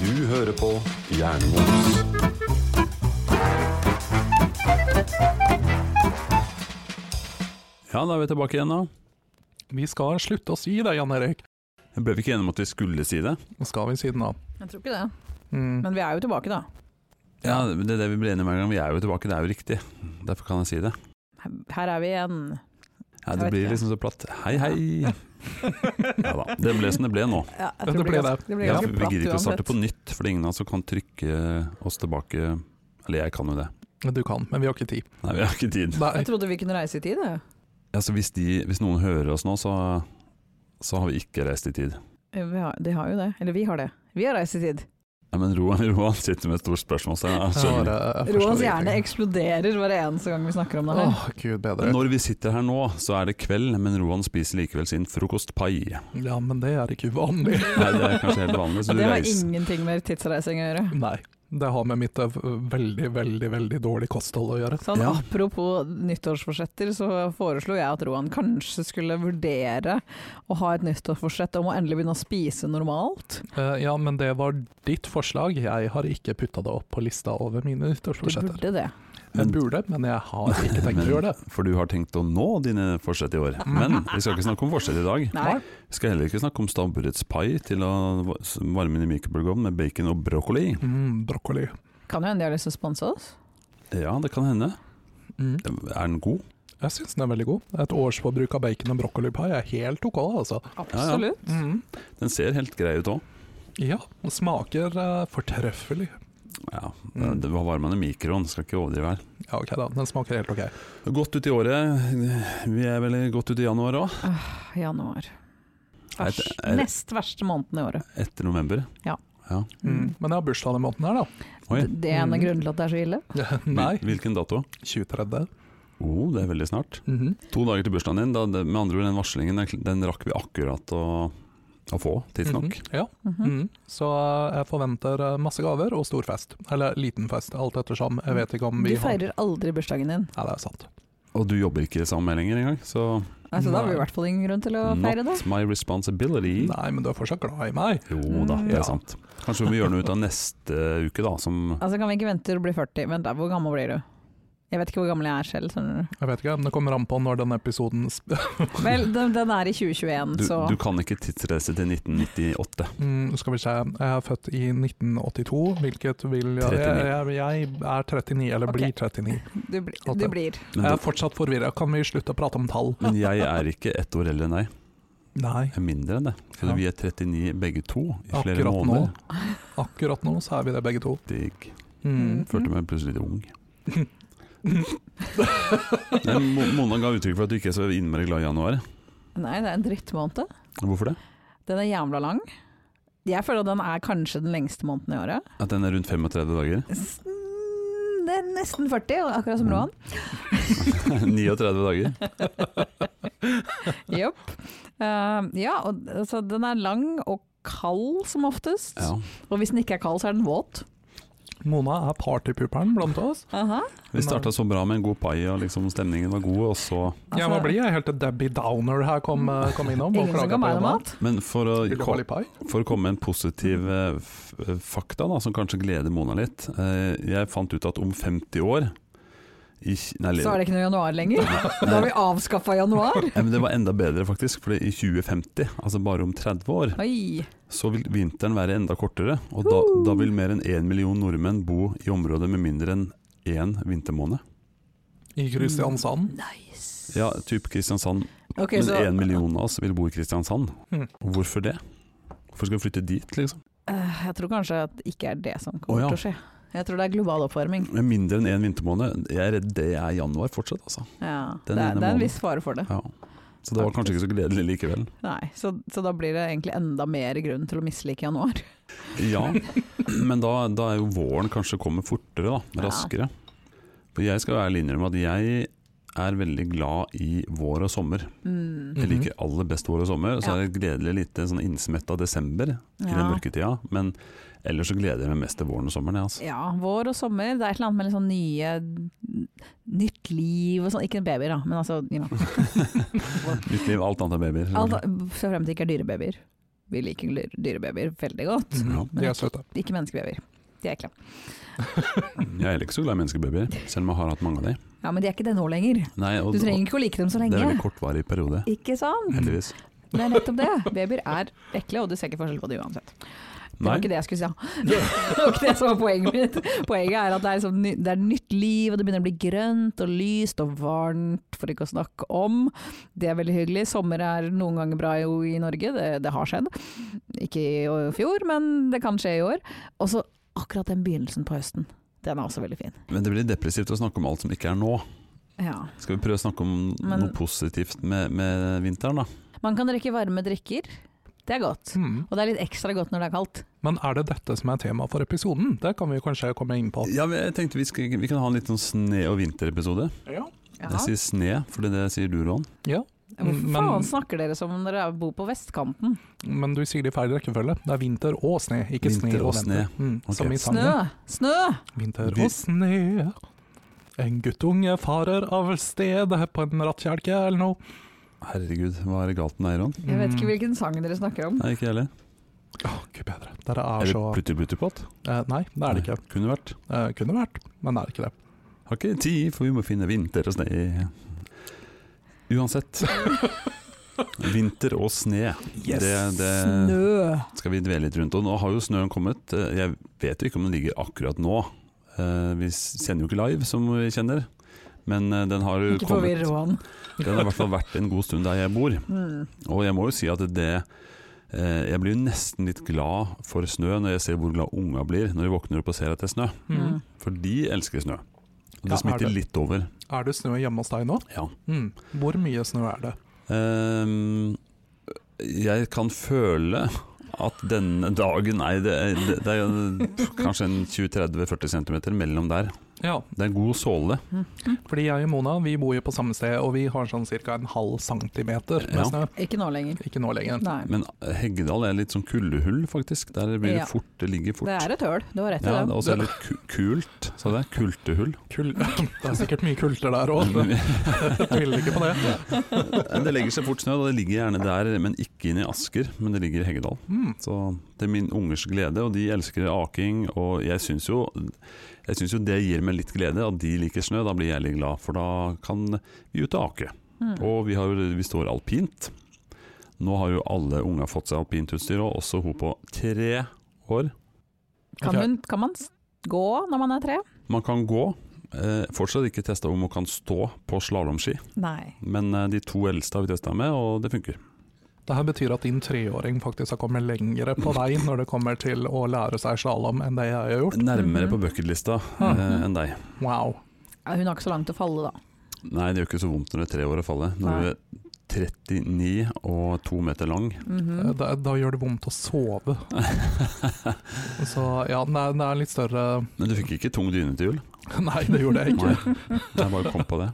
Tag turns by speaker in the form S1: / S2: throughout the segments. S1: Du hører på Jernmos.
S2: Ja, da er vi tilbake igjen, da.
S3: Vi skal slutte å si det, Jan Erik.
S2: Jeg ble vi ikke enige om at vi skulle si det?
S3: Nå skal vi si det nå.
S4: Jeg tror ikke det.
S3: Mm.
S4: Men vi er jo tilbake, da.
S2: Ja, det er det vi ble enige om hver gang. Vi er jo tilbake, det er jo riktig. Derfor kan jeg si det.
S4: Her- Her er vi igjen.
S2: Ja,
S4: Jeg
S2: det
S4: vet
S2: blir
S4: ikke.
S2: liksom så platt. Hei, hei. Ja da. Det ble som det ble nå.
S4: Ja,
S3: Ja,
S4: jeg tror
S3: det ble
S4: blir ganske-
S3: det.
S4: det blir
S2: Ja,
S4: ganske
S2: for vi
S4: platt
S2: gidder ikke å
S4: uansett.
S2: starte på nytt, for det er ingen av oss som kan trykke oss tilbake. Eller jeg kan jo det.
S3: Du kan, men vi har ikke tid.
S2: Nei, vi har ikke tid.
S3: Nei.
S4: Jeg trodde vi kunne reise i tid, jeg.
S2: Altså, hvis, de, hvis noen hører oss nå, så, så har vi ikke reist i tid.
S4: Vi har, de har jo det. Eller vi har det. Vi har reist i tid.
S2: Ja, men Roan, Roan sitter med et stort spørsmålstegn. Jeg
S3: Jeg
S2: skjønner.
S3: bare- jeg forstår
S4: Roans hjerne
S3: ingenting.
S4: eksploderer hver eneste gang vi snakker om det her.
S3: Åh, gud bedre.
S2: Når vi sitter her nå, så er det kveld, men Roan spiser likevel sin frokostpai.
S3: Ja, men det er ikke uvanlig.
S2: Nei, det er kanskje helt vanlig. Så
S4: Og
S2: du
S4: det har
S2: reiser
S4: ingenting med tidsreising å gjøre.
S3: Nei, det har med mitt eh, veldig, veldig, veldig dårlig kosthold å gjøre.
S4: Sånn,
S2: Ja.
S4: Apropos nyttårsforsetter, så foreslo jeg at Roan kanskje skulle vurdere å ha et nyttårsforsett om å endelig begynne å spise normalt.
S3: Eh, ja, men det var ditt forslag. Jeg har ikke putta det opp på lista over mine
S4: Du
S3: nyttårsforsetter.
S4: burde det.
S3: Jeg burde, men jeg har ikke tenkt å
S2: Men-
S3: gjøre det.
S2: For du har tenkt å nå dine forsett i år. Men vi skal ikke snakke om forsett i dag.
S4: Nei.
S2: Vi skal heller ikke snakke om stabburettspai til å varme inn i mikrobølgeovnen med bacon og broccoli.
S3: Mm, brokkoli.
S4: Kan jo hende de har lyst til å sponse oss.
S2: Ja, det kan hende.
S3: Mm.
S2: Er den god?
S3: Jeg syns den er veldig god. Et årsforbruk av bacon og brokkolipai er helt ok, altså.
S4: Absolutt.
S3: Mm.
S2: Den ser helt grei ut òg.
S3: Ja, og smaker eh, fortreffelig.
S2: Ja,
S3: Mm.
S2: det var varmen i mikroen, skal ikke overdrive her.
S3: Ja, ok da, den smaker helt ok.
S2: Godt ut i året. Vi er vel godt ut i januar òg.
S4: Januar.
S2: Er
S4: Vers,
S2: det- er-
S4: nest verste måneden i året.
S2: Etter november.
S3: Mm. Men jeg har bursdag denne måneden her, da.
S2: Oi.
S4: Det det er en av
S3: Mm.
S4: grunnene til at det er så ille.
S3: Nei,
S2: Hvil- Hvilken dato?
S3: 23.
S2: Oh, det er veldig snart.
S3: Mhm.
S2: To dager til bursdagen din. Da, det, med andre ord, den varslingen den- den rakk vi akkurat å, å få, tidsnok.
S3: Mhm, Ja.
S4: Mhm.
S3: Mm. Så eh, jeg forventer eh, masse gaver og stor fest. Eller liten fest, alt ettersom. Jeg vet
S2: Mm,
S3: ikke om vi
S4: Du feirer aldri bursdagen din.
S3: Har... Nei, det er sant.
S2: Og du jobber ikke sammen med lenger engang, så
S4: Altså, da har vi i
S3: Nei.
S4: hvert fall ingen grunn til å feire det.
S2: Not my responsibility.
S3: Nei, men du er fortsatt glad i meg.
S2: Jo da, det
S3: Ja.
S2: er sant. Kanskje vi må gjøre noe ut av neste uke, da. Som
S4: Altså, kan vi ikke vente til du blir 40? Vent da, hvor gammel blir du? Jeg vet ikke hvor gammel jeg er selv. skjønner du.
S3: Jeg vet ikke, men det kommer an på når denne episoden sp
S4: Vel, den, den er i 2021,
S2: du,
S4: så
S2: du kan ikke tidsreise til 1998.
S3: mm, Skal vi se, jeg er født i 1982, hvilket vil jeg,
S2: 39.
S3: jeg, jeg er 39, eller
S4: Ok.
S3: blir 39.
S4: du, bli, du blir.
S3: Jeg
S2: Men,
S3: er fortsatt forvirra. Kan vi slutte å prate om tall?
S2: men jeg er ikke ett år eldre enn deg.
S3: Nei,
S2: Jeg er mindre enn det. For
S3: Ja.
S2: vi er 39 begge to i flere
S3: akkurat nå.
S2: måneder.
S3: Akkurat nå så er vi det begge to.
S2: Digg.
S3: Mm.
S4: Mm.
S2: Følte meg plutselig litt ung. Nei, Mo- Mona ga uttrykk for at du ikke er så innmari glad i januar.
S4: Nei, det er en drittmåned.
S2: Hvorfor det?
S4: Den er jævla lang. Jeg føler at den er kanskje den lengste måneden i året.
S2: At den er rundt 35 dager?
S4: S- mm, Det er nesten 40, akkurat som
S2: Mm.
S4: Roan.
S2: 39 dager?
S4: Jopp. Eh, ja, og, altså, den er lang og kald som oftest.
S2: Ja.
S4: Og hvis den ikke er kald, så er den våt.
S3: Mona er partypuperen blant oss.
S4: Aha.
S2: Vi starta så bra med en god pai, og liksom stemningen var god, og så
S3: ja, nå blir jeg helt til Debbie Downer her kom, eh, kom innom. og
S4: Altså, Ingen som
S3: klaget
S4: kan
S3: på
S4: meg noe
S3: Jonas.
S4: mat.
S2: Men for å,
S3: Vil du ha litt pai?
S2: for å komme med en positiv eh, f- fakta, da, som kanskje gleder Mona litt eh, Jeg fant ut at om 50 år i, Ki- nei,
S4: Så er det ikke noe januar lenger. Da har vi avskaffa januar.
S2: Nei, men det var enda bedre, faktisk. For i 2050, altså bare om 30 år,
S4: Oi.
S2: så vil vinteren være enda kortere. Og da, da vil mer enn én million nordmenn bo i området med mindre enn én vintermåned.
S3: I Kristiansand.
S4: Nice.
S2: Ja, type Kristiansand.
S4: Ok,
S2: Men
S4: så
S2: én million av oss vil bo i Kristiansand.
S3: Mm.
S2: Og Hvorfor det? Hvorfor skal vi flytte dit, liksom?
S4: eh, jeg tror kanskje at det ikke er det som
S2: Å,
S4: kommer
S2: ja.
S4: til å skje. Jeg tror det er global oppvarming.
S2: Med mindre enn én vintermåned. Jeg er redd det er januar fortsatt, altså.
S4: Ja, det,
S2: Den ene
S4: er, det er
S2: måneden.
S4: en viss fare for det.
S2: Ja. Så det var kanskje ikke så gledelig likevel.
S4: Nei, så, så da blir det egentlig enda mer grunn til å mislike januar.
S2: Ja, men da, da er jo våren kanskje kommer fortere, da.
S4: Ja.
S2: Raskere. For jeg skal jo ærlig innrømme at jeg er veldig glad i vår og sommer.
S4: Mm.
S2: Jeg
S3: Mhm.
S2: liker aller best vår og sommer. Så
S4: Ja.
S2: er det gledelig lite sånn innsmett av desember i den
S4: Ja.
S2: mørke tida. Men ellers så gleder jeg meg mest til våren og sommeren. Ja, altså.
S4: ja, vår og sommer. Det er et eller annet med litt sånn nye Nytt liv og sånn. Ikke babyer, da, men altså you know.
S2: Nytt liv, alt annet enn babyer.
S4: Alt, Så frem til det ikke er dyrebabyer. Vi liker dyre- dyrebabyer veldig godt.
S3: Mhm. De er søte.
S4: Ikke menneskebabyer. De er ekle.
S2: Jeg er heller ikke så glad i menneskebabyer, selv om jeg har hatt mange av de.
S4: Ja, men de er ikke det nå lenger.
S2: Nei, og,
S4: Du trenger ikke å like dem så
S2: og det er en
S4: lenge. Mm.
S2: veldig kortvarig periode,
S4: Ikke sant?
S2: heldigvis.
S4: Det er nettopp det. Babyer er ekle, og du ser ikke forskjell på det uansett. Det
S2: Nei,
S4: var ikke det jeg skulle si. Det var ikke det som var poenget mitt. Poenget er at det er, liksom, ny- det er nytt liv, og det begynner å bli grønt og lyst og varmt, for ikke å snakke om. Det er veldig hyggelig. Sommer er noen ganger bra jo i Norge, det, det har skjedd. Ikke i å- fjor, men det kan skje i år. Og så akkurat den begynnelsen på høsten. Den er også veldig fin.
S2: men det blir depressivt å snakke om alt som ikke er nå.
S4: Ja.
S2: Skal vi prøve å snakke om
S4: Men-
S2: noe positivt med, med vinteren, da?
S4: Man kan drikke varme drikker. Det er godt.
S3: Mhm.
S4: Og det er litt ekstra godt når det er kaldt.
S3: Men er det dette som er tema for episoden? Det kan vi kanskje komme inn på.
S2: Ja, men jeg tenkte vi, skal, vi kan ha en liten sne- og vinterepisode.
S3: Ja.
S2: Jeg sier sne, fordi det sier du, Roan.
S4: Hvor
S3: Men-
S4: faen snakker dere som om dere bor på vestkanten?
S3: Men du sier det i feil rekkefølge. Det er vinter og sne, ikke
S2: Vinter
S3: sne
S2: og
S3: og vinter. Mm,
S2: Ok.
S3: Som i sangen.
S4: Snø! Snø!
S3: Vinter
S2: Vi-
S3: og sne. En guttunge farer av sted på en rattkjelke eller noe.
S2: Herregud, hva er det galt med deg, Roan?
S4: Jeg vet ikke
S3: Mm.
S4: hvilken sang dere snakker om.
S2: Nei, ikke jeg heller.
S3: Åh, Gud bedre. Dere er
S2: Er det
S3: så
S2: Plutti Pluttipott?
S3: eh, Nei, det er det ikke.
S2: Kunne vært.
S3: Eh, kunne vært, men det er ikke det.
S2: Har ikke tid, for vi må finne vinter og sne. Uansett. Vinter og sne, det, det
S4: Snø!
S2: skal vi dvele litt rundt. Og nå har jo snøen kommet. Eh, Jeg vet jo ikke om den ligger akkurat nå. Eh, Vi sender jo ikke live, som vi kjenner. Men eh, den har jo
S4: Ikke forvirr
S2: kommet.
S4: Roan.
S2: Den har i hvert fall vært en god stund der jeg bor.
S4: Mm.
S2: Og jeg må jo si at det eh, Jeg blir jo nesten litt glad for snø når jeg ser hvor glad unga blir når de våkner opp og ser at det er snø.
S3: Mm.
S2: For de elsker snø. Og det
S3: Ja, er
S2: smitter
S3: det?
S2: litt over.
S3: Er det snø hjemme hos deg nå?
S2: Ja.
S3: Mm. Hvor mye snø er det?
S2: Ehm, jeg kan føle at denne dagen Nei, det er, det, det er jo kanskje en 20-30-40 cm mellom der.
S3: Ja,
S2: Det er en god såle.
S3: fordi jeg og Mona vi bor jo på samme sted, og vi har sånn ca. en halv centimeter med
S2: Ja.
S3: snø.
S4: Ikke nå lenger.
S3: Ikke nå lenger.
S4: Nei.
S2: Men Heggedal er litt sånn kuldehull, faktisk. Der blir
S4: Ja.
S2: det fort, det ligger fort.
S4: Det er et høl, du har rett i
S2: ja, det er
S4: det.
S2: også litt ku- kult, sa jeg. Kultehull.
S3: Kul det er sikkert mye kulter der òg, jeg tviler ikke på det.
S2: det legger seg fort snø, og det ligger gjerne der, men ikke inne i Asker, men det ligger i Heggedal.
S3: Mm.
S2: Så det er min ungers glede, og de elsker aking, og jeg syns jo, jeg synes jo det gir meg litt glede at de liker snø, da blir jeg litt glad, for da kan vi ut og ake.
S4: Mm.
S2: Og vi, har, jo- vi står alpint. Nå har jo alle unga fått seg alpintutstyr, og også hun på tre år.
S4: Kan,
S3: Ok.
S4: hun, kan man s- gå når man er tre?
S2: Man kan gå. Eh, fortsatt ikke testa om hun kan stå på slalåmski,
S4: Nei.
S2: men eh, de to eldste har vi testa med, og det funker.
S3: Det her betyr at din treåring faktisk har kommet lengre på vei når det kommer til å lære seg slalåm enn det jeg har gjort.
S2: Nærmere
S4: Mhm.
S2: på bucketlista
S3: Mhm.
S2: eh, enn deg.
S3: Wow.
S4: Ja, hun har ikke så langt å falle, da.
S2: Nei, det gjør ikke så vondt når du er tre år og faller. Når du er 39 og to meter lang.
S4: Mhm.
S3: Da, da gjør det vondt å sove. Så ja, det er, det er litt større
S2: Men du fikk ikke tung dyne til jul?
S3: Nei, det gjorde jeg ikke.
S2: Nei, jeg bare kom på det.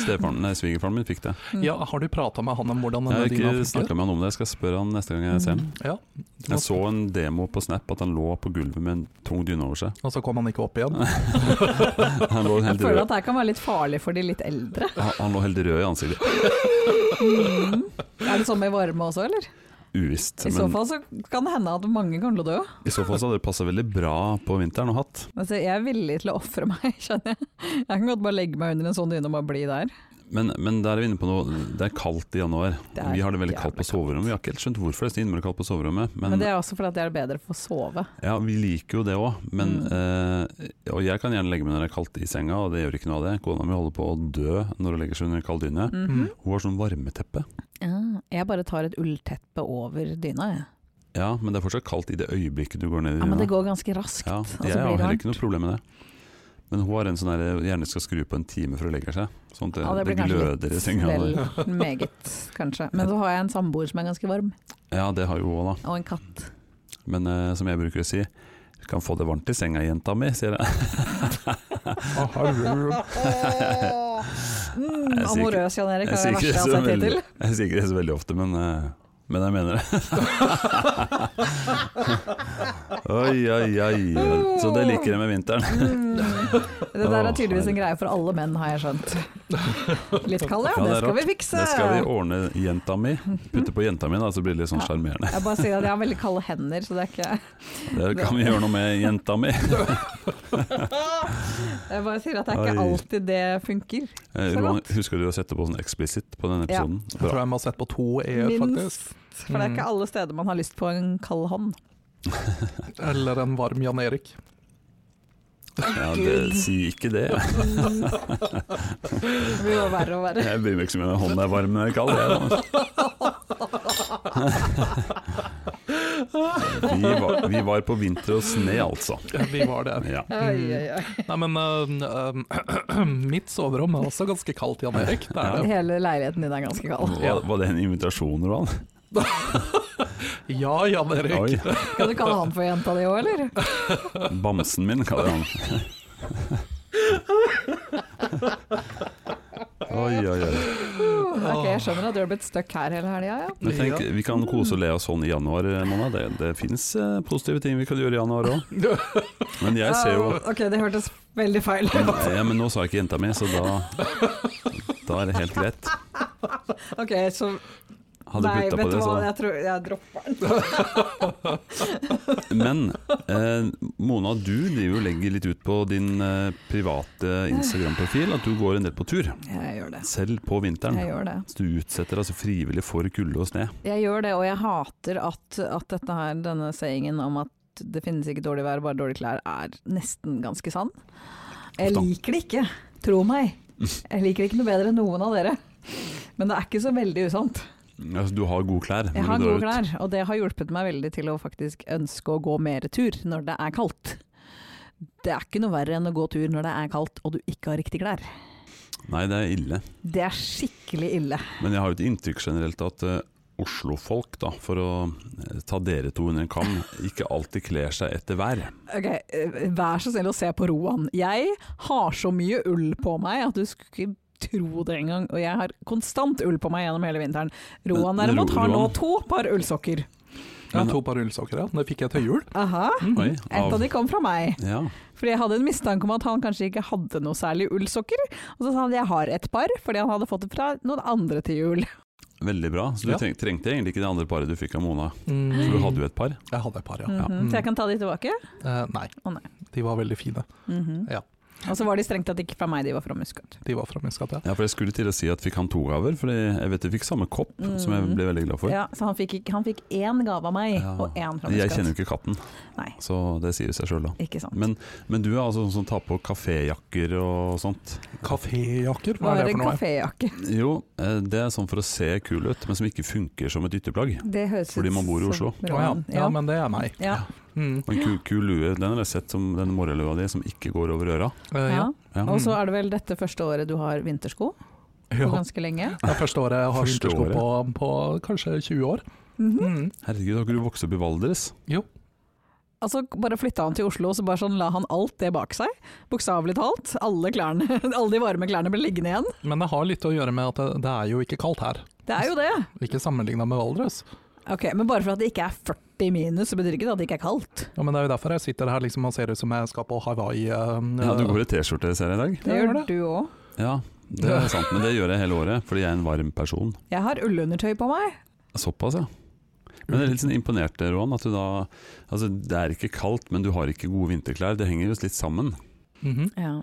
S2: Stefaren, nei, Svigerfaren min fikk det.
S3: Ja, har du prata med han om hvordan
S2: Jeg
S3: denne
S2: har
S3: dyna
S2: ikke
S3: funker?
S2: snakka med han om det, jeg skal spørre han neste gang jeg
S4: Mm.
S2: ser ham.
S3: Ja.
S2: Jeg så en demo på Snap at han lå på gulvet med en tung dyne over seg.
S3: Og så kom han ikke opp igjen.
S2: Han lå
S4: Jeg
S2: helt
S4: føler
S2: rød,
S4: at det her kan være litt farlig for de litt eldre.
S2: han han lå helt rød i ansiktet.
S4: Mhm. Er det sånn med varme også, eller?
S2: Uvisst.
S4: I så
S2: Men
S4: fall så kan det hende at mange kommer til å dø.
S2: i så fall så hadde det passa veldig bra på vinteren og hatt.
S4: Altså, jeg er villig til å ofre meg, skjønner jeg. Jeg kan godt bare legge meg under en sånn dyne og bare bli der.
S2: Men, men der er vi inne på noe. Det er kaldt i januar.
S4: Det er
S2: Vi har det veldig kaldt på
S4: jævlig kaldt.
S2: soverommet. Vi har ikke helt skjønt hvorfor det er så innmari kaldt på soverommet.
S4: Men,
S2: Men
S4: det er også fordi at det er bedre for å sove.
S2: Ja, vi liker jo det òg, men
S4: Mm.
S2: eh, Og jeg kan gjerne legge meg når det er kaldt i senga, og det gjør ikke noe av det. Kona mi holder på å dø når hun legger seg under en kald dyne.
S4: Mhm.
S2: Hun har sånn varmeteppe.
S4: Ja, jeg bare tar et ullteppe over dyna, jeg.
S2: Ja, men det er fortsatt kaldt i det øyeblikket du går ned i
S4: Ja, men det
S2: dyna.
S4: går ganske raskt.
S2: Ja,
S4: og så
S2: jeg
S4: blir
S2: har
S4: det
S2: heller
S4: varmt.
S2: ikke noe problem med det. Men hun har en sånn der gjerne skal skru på en time før hun legger seg. Sånn at det,
S4: Ja, det
S2: det
S4: blir kanskje litt
S2: gløder i senga. der.
S4: Vel, meget, kanskje. Men så har jeg en samboer som er ganske varm,
S2: Ja, det har jo hun òg, da.
S4: og en katt.
S2: Men eh, som jeg bruker å si, du kan få det varmt
S3: Ah,
S2: i senga, jenta mi, sier jeg.
S3: Aha,
S4: Mm,
S2: Jeg sier ikke-
S4: amorøs, Jan Erik,
S2: Jeg
S4: er
S2: sier
S4: det
S2: ikke det
S4: verste jeg har
S2: så
S4: sett
S2: veldig,
S4: hittil.
S2: jeg sier ikke det så veldig ofte, men, eh, men jeg mener det. oi, oi, oi. Så det liker jeg med vinteren.
S4: Mm. Det der
S2: Åh,
S4: er tydeligvis en greie for alle menn, har jeg skjønt. Litt kald,
S2: Ja, det er
S4: ja. Det skal
S2: rart.
S4: vi fikse.
S2: Det skal vi ordne jenta mi. Putte på jenta mi, da, så blir det litt sånn
S4: Ja.
S2: sjarmerende.
S4: Jeg bare sier at jeg har veldig kalde hender, så det er ikke
S2: Det kan vi gjøre noe med, jenta mi. Eh,
S4: Jeg bare sier at det er ikke
S2: Oi.
S4: alltid det funker.
S2: Eh, Roan, husker du å sette på sånn eksplisitt på denne
S4: Ja.
S2: episoden?
S3: Jeg tror
S2: Bra.
S3: jeg må ha sett på to e-er, faktisk.
S4: Minst. For det er ikke alle steder man har lyst på en kald hånd.
S3: Eller en varm Jan Erik.
S2: Ja, det, si ikke det.
S4: Det blir jo verre og verre.
S2: Jeg bryr meg ikke så mye om hånda er varm eller kald. Jeg, da. vi, var, vi var på vinter og sne, altså.
S3: Ja, Vi var der.
S2: Ja. Mm.
S4: Oi, oi, oi.
S3: Nei, men eh, eh, mitt soverom er også ganske kaldt, Jan Erik. Det er det.
S4: Hele leiligheten din er ganske kald.
S2: Var, var det en invitasjon, Roan?
S3: Ja, Jan Erik.
S2: Oi,
S4: Kan du kalle han for jenta di òg, eller?
S2: bamsen min, kaller jeg han. Oi, oi, oi.
S4: Ok, jeg skjønner at du har blitt stuck her hele helga, ja.
S2: Men tenk,
S3: Ja.
S2: vi kan kose og le oss sånn i januar måned. Det, det fins eh, positive ting vi kan gjøre i januar òg. Men jeg ser jo
S4: Ah, Ok, det hørtes veldig feil ut.
S2: Ja, men nå sa jeg ikke jenta mi, så da Da er det helt greit.
S4: Ok, så
S2: Hadde
S4: Nei,
S2: putta
S4: vet
S2: på
S4: du
S2: det,
S4: hva,
S2: så
S4: jeg tror jeg dropper den.
S2: Men eh, Mona, du driver og legger litt ut på din eh, private Instagram-profil at du går en del på tur,
S4: Jeg gjør det.
S2: selv på
S4: Jeg
S2: vinteren.
S4: gjør det.
S2: Så du utsetter altså frivillig for kulde og sne.
S4: Jeg gjør det, og jeg hater at, at dette her, denne sayingen om at det finnes ikke dårlig vær, bare dårlige klær, er nesten ganske sann. Jeg
S2: Ofte.
S4: liker det ikke, tro meg.
S2: Mm.
S4: Jeg liker det ikke noe bedre enn noen av dere. Men det er ikke så veldig usant.
S2: Altså, du har gode klær
S4: Jeg
S2: når
S4: har
S2: du
S4: gode
S2: drar ut.
S4: klær, og det har hjulpet meg veldig til å faktisk ønske å gå mer tur når det er kaldt. Det er ikke noe verre enn å gå tur når det er kaldt og du ikke har riktig klær.
S2: Nei, det er ille.
S4: Det er skikkelig ille.
S2: Men jeg har jo et inntrykk generelt av at eh, Oslo-folk, da, for å eh, ta dere to under en kam, ikke alltid kler seg etter vær.
S4: Ok, eh, Vær så snill å se på Roan. Jeg har så mye ull på meg at du skulle ikke tro det engang. Og jeg har konstant ull på meg gjennom hele vinteren. Roan
S2: Men- men
S4: derimot har nå
S2: Roan-
S4: to par ullsokker.
S3: Jeg har to par ullsokker, ja. Det fikk jeg til jul.
S4: Aha.
S2: Oi,
S4: Mm, Et av
S2: av,
S4: de kom fra meg,
S2: ja,
S4: fordi jeg hadde en mistanke om at han kanskje ikke hadde noe særlig ullsokker. Og så sa han at jeg har et par, fordi han hadde fått det fra noen andre til jul.
S2: veldig bra. Så du
S3: Ja.
S2: treng, trengte egentlig ikke det andre paret du fikk av Mona.
S3: Mm.
S2: Du hadde jo et par.
S3: Jeg hadde et par, ja.
S4: Mhm, Så jeg kan ta de tilbake?
S3: Eh, Mm. nei.
S4: Å, nei.
S3: De var veldig fine.
S4: Mhm.
S3: Ja.
S4: Og så var de strengt tatt ikke fra meg, de var fra Muscat.
S3: De var fra Muscat, ja.
S2: Ja, for jeg skulle til å si at fikk han to gaver, for jeg vet jeg fikk samme kopp,
S4: Mm.
S2: som jeg ble veldig glad for.
S4: Ja, så han fikk, ikke- han fikk én gave av meg,
S2: Ja.
S4: og én fra
S2: Jeg
S4: Muscat.
S2: kjenner jo ikke katten,
S4: altså. Nei.
S2: så det sier seg sjøl, da.
S4: Ikke sant.
S2: Men, men du er altså sånn som tar på kaféjakker og sånt?
S3: Kaféjakker, hva
S4: Hva
S3: er det for noe?
S4: kaféjakke?
S2: Jo, eh, det er sånn for å se kul ut, men som ikke funker som et ytterplagg.
S4: Det høres
S2: Fordi man bor i Oslo.
S3: Å
S4: som
S3: ja.
S4: roman.
S3: ja, men det er meg.
S4: Ja.
S3: Mm.
S2: Og en kul, kul lue, den har jeg sett som den morgenlua di som ikke går over øra.
S3: Eh,
S4: Ja.
S3: ja.
S2: Ja.
S4: Og så er det vel dette første året du har vintersko,
S3: Ja.
S4: på ganske lenge.
S3: Det er første året jeg har
S2: Første året.
S3: vintersko på, på kanskje 20 år.
S4: Mhm.
S3: Mm.
S2: Herregud, har ikke du vokst opp i Valdres?
S3: Jo.
S4: Altså Bare flytta han til Oslo, så bare sånn la han alt det bak seg. Bokstavelig talt. Alle klærne, alle de varme klærne ble liggende igjen.
S3: Men det har litt å gjøre med at det, det er jo ikke kaldt her.
S4: Det er jo det.
S3: Ikke sammenligna med Valdres.
S4: Ok, Men bare for at det ikke er 40 minus, så betyr det ikke at det ikke er kaldt.
S3: Ja, men det er jo derfor jeg sitter her liksom og ser ut som jeg skal på Hawaii. eh,
S2: Ja, du går i T-skjorte, ser jeg i dag.
S4: Det
S3: Jeg gjør
S4: gjør
S3: det.
S4: du òg.
S2: Ja, det er sant, men det gjør jeg hele året, fordi jeg er en varm person.
S4: Jeg har ullundertøy på meg.
S2: Såpass, ja. Men jeg er litt
S3: mm.
S2: sånn imponert, Roan, at du da Altså, det er ikke kaldt, men du har ikke gode vinterklær. Det henger jo litt sammen. sånn-
S3: Mhm.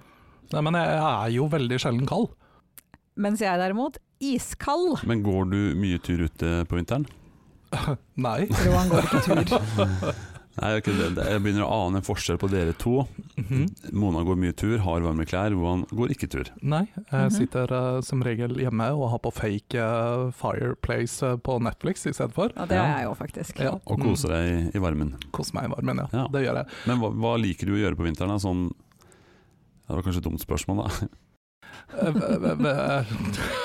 S3: Nei, men jeg er jo veldig sjelden kald.
S4: Mens jeg derimot iskald.
S2: Men går du mye tur ute på vinteren?
S3: Nei.
S4: Roan går ikke tur.
S2: Nei, jeg, det. Det- jeg begynner å ane en forskjell på dere to.
S3: Mhm.
S2: Mona går mye tur, har varme klær. Roan går ikke tur.
S3: Nei,
S4: Mhm.
S3: jeg sitter eh, som regel hjemme og har på fake eh, Fireplace eh, på Netflix istedenfor.
S4: Ja, det er jeg òg, faktisk.
S3: Ja.
S2: Og
S3: Mm.
S2: koser deg i varmen.
S3: Kos meg i varmen, ja.
S2: Ja.
S3: Det gjør jeg.
S2: Men hva, hva liker du å gjøre på vinteren? Da? Sånn, det var kanskje et dumt spørsmål, da.
S3: Eh, v- v- v-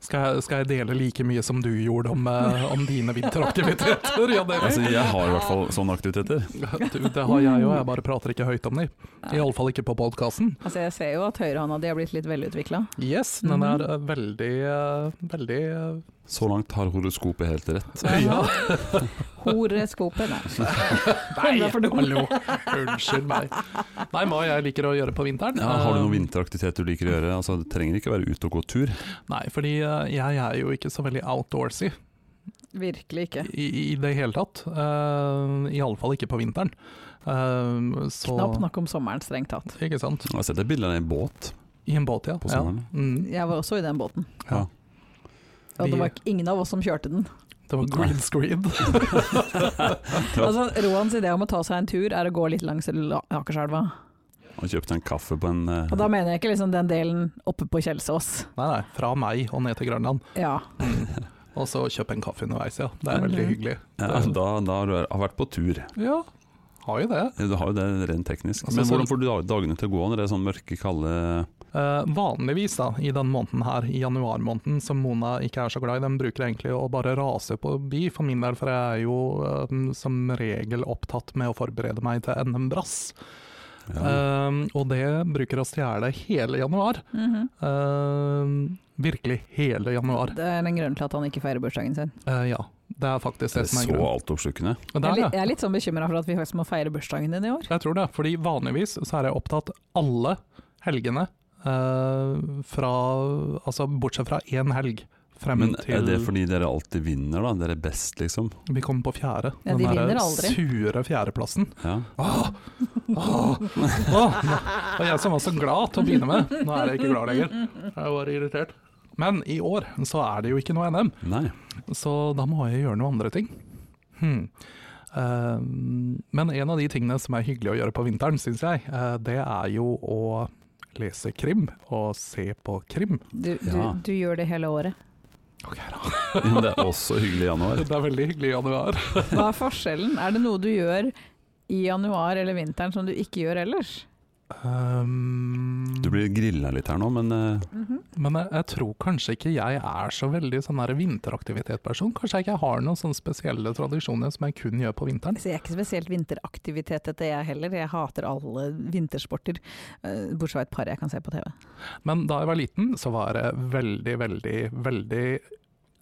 S3: Skal jeg, skal jeg dele like mye som du gjorde om, eh, om dine vinteraktiviteter? Jan Erik?
S2: Altså, jeg har i hvert fall sånne aktiviteter.
S3: Du, det har jeg òg, jeg bare prater ikke høyt om dem.
S4: Nei.
S3: Iallfall ikke på podkasten.
S4: Altså, jeg ser jo at høyrehånda di har blitt litt velutvikla.
S3: Yes, den er eh, veldig eh, veldig eh,
S2: Så langt har horoskopet helt rett.
S3: Ja.
S4: Horeskopet, nei.
S3: Nei,
S4: Det er for dumt.
S3: hallo. Unnskyld meg. Nei, hva jeg liker å gjøre på vinteren?
S2: Ja, har du noen
S3: Eh,
S2: vinteraktivitet du liker å gjøre? Altså, det trenger ikke være ute og gå tur.
S3: Nei, fordi eh, jeg er jo ikke så veldig outdoorsy
S4: Virkelig ikke.
S3: i, i det hele tatt. Uh, Iallfall ikke på vinteren. Eh, så,
S4: Knapt nok om sommeren, strengt tatt.
S3: Ikke sant.
S2: Jeg har sett et bilde av en båt
S3: I en båt, ja.
S2: på sommeren.
S3: Ja. Mm.
S4: Jeg var også i den båten.
S2: Ja.
S4: Og
S3: Vi-
S4: det var ikke- ingen av oss som kjørte den.
S3: Det var green screen.
S4: Altså, Roans idé om å ta seg en tur er å gå litt langs La- Akerselva.
S2: Og kjøpte en kaffe på en eh,
S4: Og da mener jeg ikke liksom den delen oppe på Kjelsås.
S3: Nei, nei, fra meg og ned til Grønland.
S4: Ja.
S3: Og så kjøpe en kaffe underveis, ja. Det er veldig
S4: Mhm.
S3: hyggelig.
S2: ja, da, da har du har vært på tur.
S3: Ja, har jo det.
S2: Du har jo det rent teknisk.
S3: Altså,
S2: Men
S3: så-
S2: hvordan får du dag- dagene til å gå når det er sånn mørke, kalde
S3: Eh, vanligvis da, i den måneden her, i januarmåneden, som Mona ikke er så glad i, den bruker egentlig å bare rase på bi for min del, for jeg er jo eh, som regel opptatt med å forberede meg til NM Brass.
S2: ja.
S3: Eh, og det bruker å stjele hele januar.
S4: Mhm.
S3: Eh, virkelig hele januar.
S4: Det er en grunn til at han ikke feirer bursdagen sin.
S3: Eh, ja, det er
S2: Det
S3: faktisk det,
S2: er
S3: som er
S2: så
S3: grunnen.
S2: altoppslukende.
S3: Men
S4: Jeg
S3: det
S4: er
S3: er
S4: litt,
S3: det.
S4: jeg er litt sånn bekymra for at vi faktisk må feire bursdagen din i år.
S3: Jeg tror det, fordi vanligvis så er jeg opptatt alle helgene, eh, fra, altså bortsett fra én helg. Frem
S2: Men
S3: til
S2: er det fordi dere alltid vinner, da? Dere er best, liksom?
S3: Vi kommer på fjerde.
S4: Ja, de
S3: der
S4: vinner aldri.
S3: sure fjerdeplassen.
S2: Ja.
S3: Åh, åh, åh. Og jeg som var så glad til å begynne med, nå er jeg ikke glad lenger. Jeg var irritert. Men i år så er det jo ikke noe NM,
S2: Nei.
S3: så da må jeg gjøre noen andre ting. Hmm. Ehm, men en av de tingene som er hyggelig å gjøre på vinteren, syns jeg, eh, det er jo å lese krim og se på krim.
S4: Du, du,
S2: Ja.
S4: du gjør det hele året.
S2: Men det er også hyggelig i januar.
S3: Det er veldig hyggelig i januar.
S4: Hva er forskjellen? Er det noe du gjør i januar eller vinteren som du ikke gjør ellers?
S3: Ehm,
S2: Du blir grilla litt her nå, men eh,
S3: Men jeg, jeg tror kanskje ikke jeg er så veldig sånn der vinteraktivitetperson. Kanskje jeg ikke har noen sånne spesielle tradisjoner som jeg kun gjør på vinteren.
S4: Så jeg er ikke spesielt vinteraktivitet etter jeg heller. Jeg hater alle vintersporter, eh, bortsett fra et par jeg kan se på TV.
S3: Men da jeg var liten, så var jeg veldig, veldig, veldig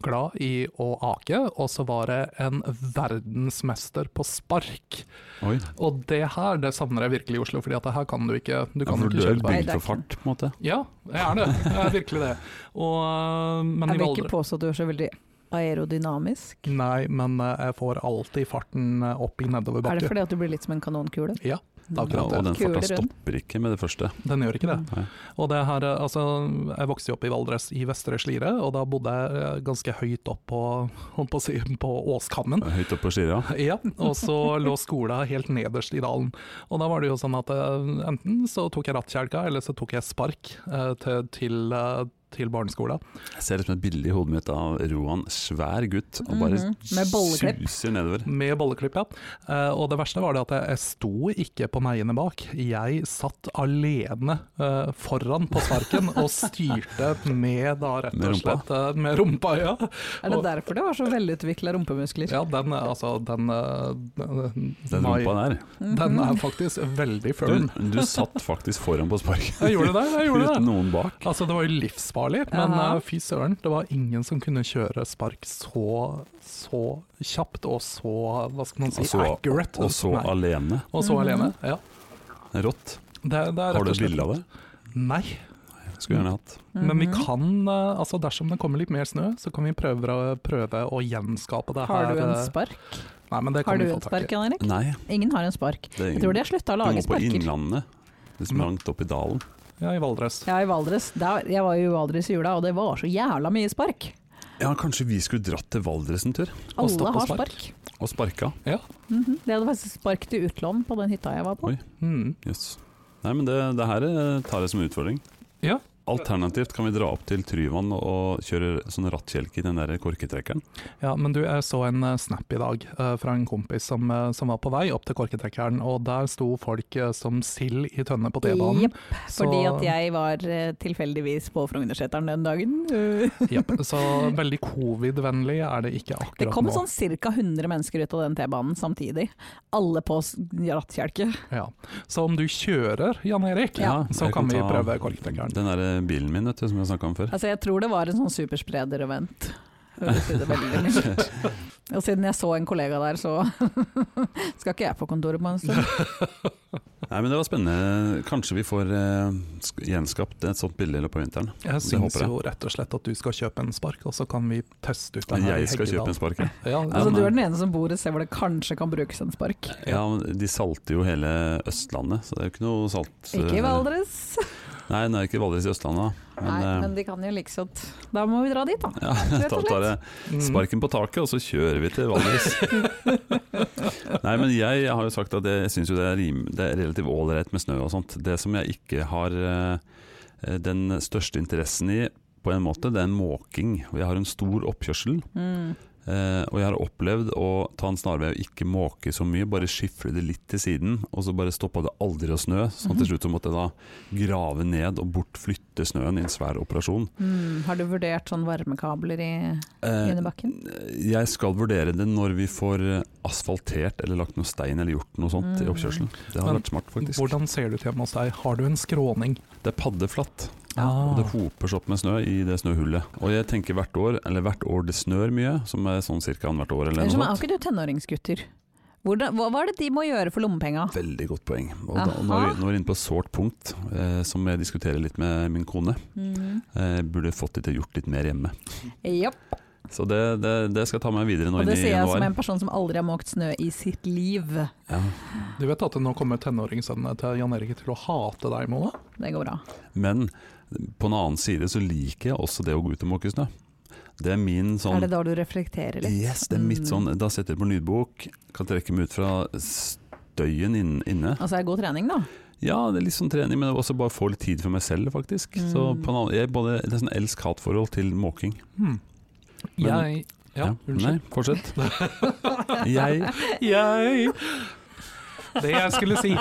S3: glad i å ake. Og så var jeg en verdensmester på spark.
S2: oi.
S3: Og det her, det savner jeg virkelig i Oslo, fordi at det her kan du ikke Du
S2: Ja,
S3: kan
S2: for
S3: ikke
S2: du er
S3: kjøre på.
S4: Nei, det
S2: bygd
S4: er
S2: for fart, på en måte.
S3: Ja, jeg er det. Jeg er virkelig det. Og, øh, men
S4: Jeg
S3: i
S4: vil ikke
S3: Valdres
S4: påstå at du er så veldig aerodynamisk.
S3: Nei, men eh, jeg får alltid farten eh, opp i
S4: Er det
S3: nedoverbakke.
S4: fordi at du blir litt som en kanonkule?
S3: Ja, det er
S2: Ja,
S3: akkurat det.
S2: og den
S4: Kule
S2: farta
S4: rundt.
S2: stopper ikke med det første.
S3: Den gjør ikke det.
S2: Nei.
S3: Og det her, eh, altså, jeg vokste jo opp i Valdres i Vestre Slidre, og da bodde jeg eh, ganske høyt opp på, holdt på, å si, på Åskammen.
S2: Høyt oppe på skira.
S3: Ja, og så lå skolen helt nederst i dalen. Og da var det jo sånn at eh, enten så tok jeg rattkjelka, eller så tok jeg spark eh, til, til, eh, til barneskolen.
S2: Jeg ser liksom et bilde i hodet mitt av Roan, svær gutt, og bare
S4: Mhm, med bolleklipp.
S2: suser nedover.
S3: Med bolleklipp, ja. Eh, Og det verste var det at jeg, jeg sto ikke på meiene bak. Jeg satt alene eh, foran på sparken og styrte med da rett
S2: Med
S3: og
S2: rumpa?
S3: slett eh, med rumpa, ja.
S4: Er det
S3: Og-
S4: derfor du har så velutvikla rumpemuskler?
S3: Ja, den er altså Den, eh, den,
S2: Den
S3: nei,
S2: rumpa der.
S3: den er faktisk veldig firm.
S2: Du, du satt faktisk foran på sparket.
S3: Jeg gjorde det, jeg gjorde
S2: Uten
S3: det.
S2: noen bak.
S3: Altså, det var jo livsfarlig, men
S4: Jaha.
S3: eh, fy søren, det var ingen som kunne kjøre spark så, så kjapt og så, hva skal man si,
S2: Altså, Og så,
S3: accurate.
S2: og så
S3: Nei.
S2: alene.
S3: og så alene.
S4: Mhm.
S3: Ja.
S2: Rått.
S3: Det, det
S2: Har
S3: er rett
S2: du
S3: og
S2: et
S3: slett
S2: bilde av det?
S3: Nei,
S2: Skulle gjerne hatt.
S3: men
S4: Mhm.
S3: vi kan, eh, altså dersom det kommer litt mer snø, så kan vi prøve, å- prøve å gjenskape det her.
S4: Har du en
S3: eh,
S4: spark?
S3: Nei, men det kan
S4: Har du
S3: vi få
S4: en
S3: tak i.
S4: spark, Jan Erik?
S2: Nei,
S4: Ingen har en spark.
S2: det er
S4: Jeg tror de har slutta å
S2: Du må
S4: lage
S2: på
S4: sparker.
S2: Innlandet. Liksom
S3: Men-
S2: langt opp i dalen.
S3: Ja, i Valdres.
S4: Ja, i Valdres. Der, jeg var jo i Valdres i jula, og det var så jævla mye spark.
S2: Ja, kanskje vi skulle dratt til Valdres en tur
S3: Og stopp
S4: Alle
S3: og
S4: har
S3: spark.
S4: spark.
S2: og sparka.
S3: Ja.
S4: Mhm. De hadde faktisk spark til utlån på den hytta jeg var på.
S2: Oi.
S3: Mm.
S2: Jøss. Nei, men det, det her eh, tar jeg som utfordring.
S3: Ja,
S2: Alternativt kan vi dra opp til Tryvann og kjøre sånn rattkjelke i den der korketrekkeren.
S3: Ja, men du, jeg så en eh, snap i dag eh, fra en kompis som, eh, som var på vei opp til korketrekkeren, og der sto folk eh, som sild i tønne på T-banen.
S4: Jepp, fordi at jeg var eh, tilfeldigvis på Frognerseteren den dagen. Det
S3: Jepp, så veldig covid-vennlig er det ikke akkurat
S4: kom
S3: nå.
S4: sånn ca. 100 mennesker ut av den T-banen samtidig. Alle på s- rattkjelke.
S3: Ja. Så om du kjører, Jan Erik,
S2: Ja.
S3: så
S2: Jeg kan
S3: kan vi
S2: ta-
S3: prøve korketrekkeren.
S2: Den der eh, bilen min vet du, som jeg snakka om før.
S4: Altså, jeg tror det var en sånn superspreder-event. Høres ut veldig mildt. Og siden jeg så en kollega der, så skal ikke jeg på kontoret på en stund.
S2: Nei, men Det var spennende. Kanskje vi får eh, sk- gjenskapt et sånt bilde i løpet av vinteren.
S3: Jeg
S2: Det
S3: syns
S2: håper jeg.
S3: jo rett og slett at du skal kjøpe en spark, og så kan vi teste ut det her. i
S2: Jeg skal
S3: Heggedal.
S2: kjøpe en spark. jeg.
S3: Ja,
S4: Altså,
S2: men-
S4: du er den ene som bor et sted hvor det kanskje kan brukes en spark.
S2: Ja, men De salter jo hele Østlandet, så det er jo ikke noe salt. eh.
S4: Ikke i Valdres.
S2: Nei, nå er det ikke Valdres i Østlandet. da.
S4: Nei,
S2: eh,
S4: men de kan jo like godt Da må vi dra dit, da.
S2: Ja,
S4: Rett og
S2: da tar jeg
S3: Mm.
S2: sparken på taket, og så kjører vi til Valdres. Nei, men jeg har jo sagt at jeg syns jo det er, rim, det er relativt ålreit med snø og sånt. Det som jeg ikke har eh, den største interessen i, på en måte, det er måking. Og jeg har en stor oppkjørsel,
S4: Mm.
S2: eh, og jeg har opplevd å ta en snarvei og ikke måke så mye, bare skifle det litt til siden, og så bare stoppa det aldri å snø. Så til slutt så måtte jeg da grave ned og bortflytte snøen i en svær operasjon.
S4: Mm. Har du vurdert sånn varmekabler i
S2: Eh,
S4: under bakken?
S2: Jeg skal vurdere det når vi får eh, asfaltert eller lagt noe stein eller gjort noe sånt i
S4: Mm.
S2: oppkjørselen. Det har
S3: Men
S2: vært smart, faktisk.
S3: Hvordan ser det ut hjemme hos deg? Har du en skråning?
S2: Det er paddeflatt,
S3: Ah.
S2: og det hoper seg opp med snø i det snøhullet. Og jeg tenker hvert år, eller hvert år det snør mye, som er sånn cirka annethvert år eller
S4: Ellers
S2: noe
S4: er jo
S2: sånt.
S4: ikke du tenåringsgutter. Hvordan, hva, hva er det de må gjøre for lommepenga?
S2: Veldig godt poeng. Og da, nå, er
S4: Aha.
S2: vi, nå er vi inne på et sårt punkt eh, som jeg diskuterer litt med min kone.
S4: Mm.
S2: Eh, burde fått det til å gjort litt mer hjemme.
S4: Japp.
S2: Så det, det, det skal jeg ta med meg videre nå
S4: Og
S2: inn
S4: det
S2: i
S4: sier jeg som
S2: januar.
S4: en person som aldri har måkt snø i sitt liv.
S2: Ja.
S3: Du vet at nå kommer tenåringssønnene til Jan Erik til å hate deg, Mona?
S4: Det går bra.
S2: Men på den annen side så liker jeg også det å gå ut og måke snø. Det er min sånn
S4: Er det da du reflekterer litt?
S2: Yes, det er mitt
S4: Mm.
S2: sånn Da setter jeg på lydbok, kan trekke meg ut fra støyen inn, inne.
S4: Altså er det god trening, da?
S2: Ja, det er litt sånn trening, men også bare få litt tid for meg selv, faktisk.
S4: Mm.
S2: Så på en annen, jeg både, Det er sånn elsk-hat-forhold til måking.
S3: Hmm.
S2: Men-
S3: Jeg Ja,
S2: Nei,
S3: unnskyld.
S2: fortsett. jeg
S3: Jeg Det jeg skulle si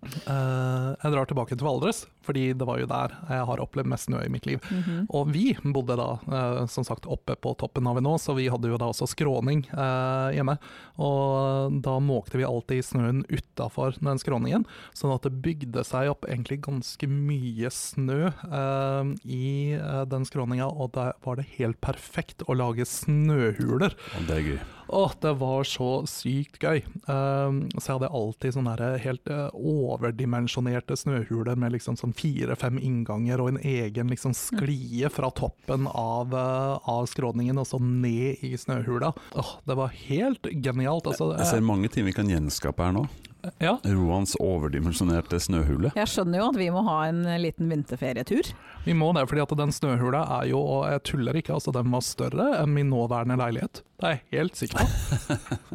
S3: Eh, Jeg drar tilbake til Valdres, fordi det var jo der jeg har opplevd mest snø i mitt liv.
S4: Mhm.
S3: Og vi bodde da eh, som sagt oppe på toppen av en å, så vi hadde jo da også skråning eh, hjemme. Og da måkte vi alltid snøen utafor den skråningen, sånn at det bygde seg opp egentlig ganske mye snø eh, i eh, den skråninga, og da var det helt perfekt å lage snøhuler.
S2: Å, Det er gøy.
S3: Åh, det var så sykt gøy. Ehm, så jeg hadde alltid sånne her helt eh, overdimensjonerte snøhuler med liksom sånn fire-fem innganger og en egen liksom sklie fra toppen av, eh, av skråningen og så ned i snøhula. Åh, det var helt genialt. Altså,
S2: Jeg ser mange ting vi kan gjenskape her nå.
S3: eh, ja.
S2: Roans overdimensjonerte snøhule.
S4: Jeg skjønner jo at vi må ha en liten vinterferietur.
S3: Vi må det, fordi at den snøhula er jo, og jeg tuller ikke, altså den var større enn min nåværende leilighet. Det er jeg helt sikker på.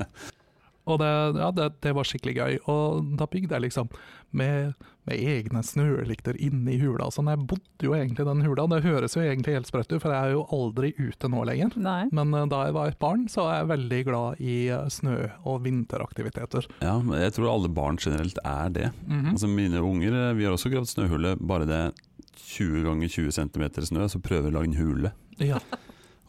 S3: og det, ja, det, det var skikkelig gøy. Og da bygde jeg liksom med, med egne snølykter inne i hula. og Sånn, jeg bodde jo egentlig i den hula. Det høres jo egentlig helt sprøtt ut, for jeg er jo aldri ute nå lenger.
S4: Nei.
S3: Men eh, da jeg var et barn, så er jeg veldig glad i eh, snø- og vinteraktiviteter.
S2: Ja, men jeg tror alle barn generelt er det.
S4: Mm.
S3: Mhm.
S2: Altså Mine unger eh, vi har også gravd snøhullet, bare det er 20 ganger 20 cm snø, så prøver vi å lage en hule.
S3: Ja.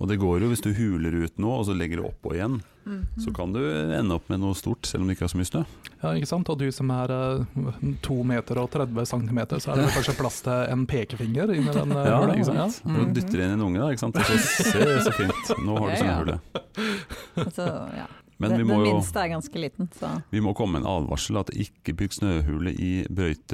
S2: Og det går jo hvis du huler ut nå, og så legger du oppå igjen,
S4: Mm. Mhm.
S2: så kan du ende opp med noe stort, selv om det ikke er så mye snø.
S3: Ja, ikke sant? Og du som er eh, 2 meter og 30 centimeter, så er det kanskje plass til en pekefinger inni den eh,
S2: Ja,
S3: hula,
S2: ikke sant?
S3: Ja.
S2: Og du dytter inn en unge, da, ikke sant? og så se så fint, nå har du
S4: Mm. Ja, ja.
S2: snøhullet.
S4: Altså, ja.
S2: Men
S4: den,
S2: vi må
S4: den
S2: jo
S4: minste er ganske liten, så
S2: vi må komme med en advarsel at ikke bygg snøhule i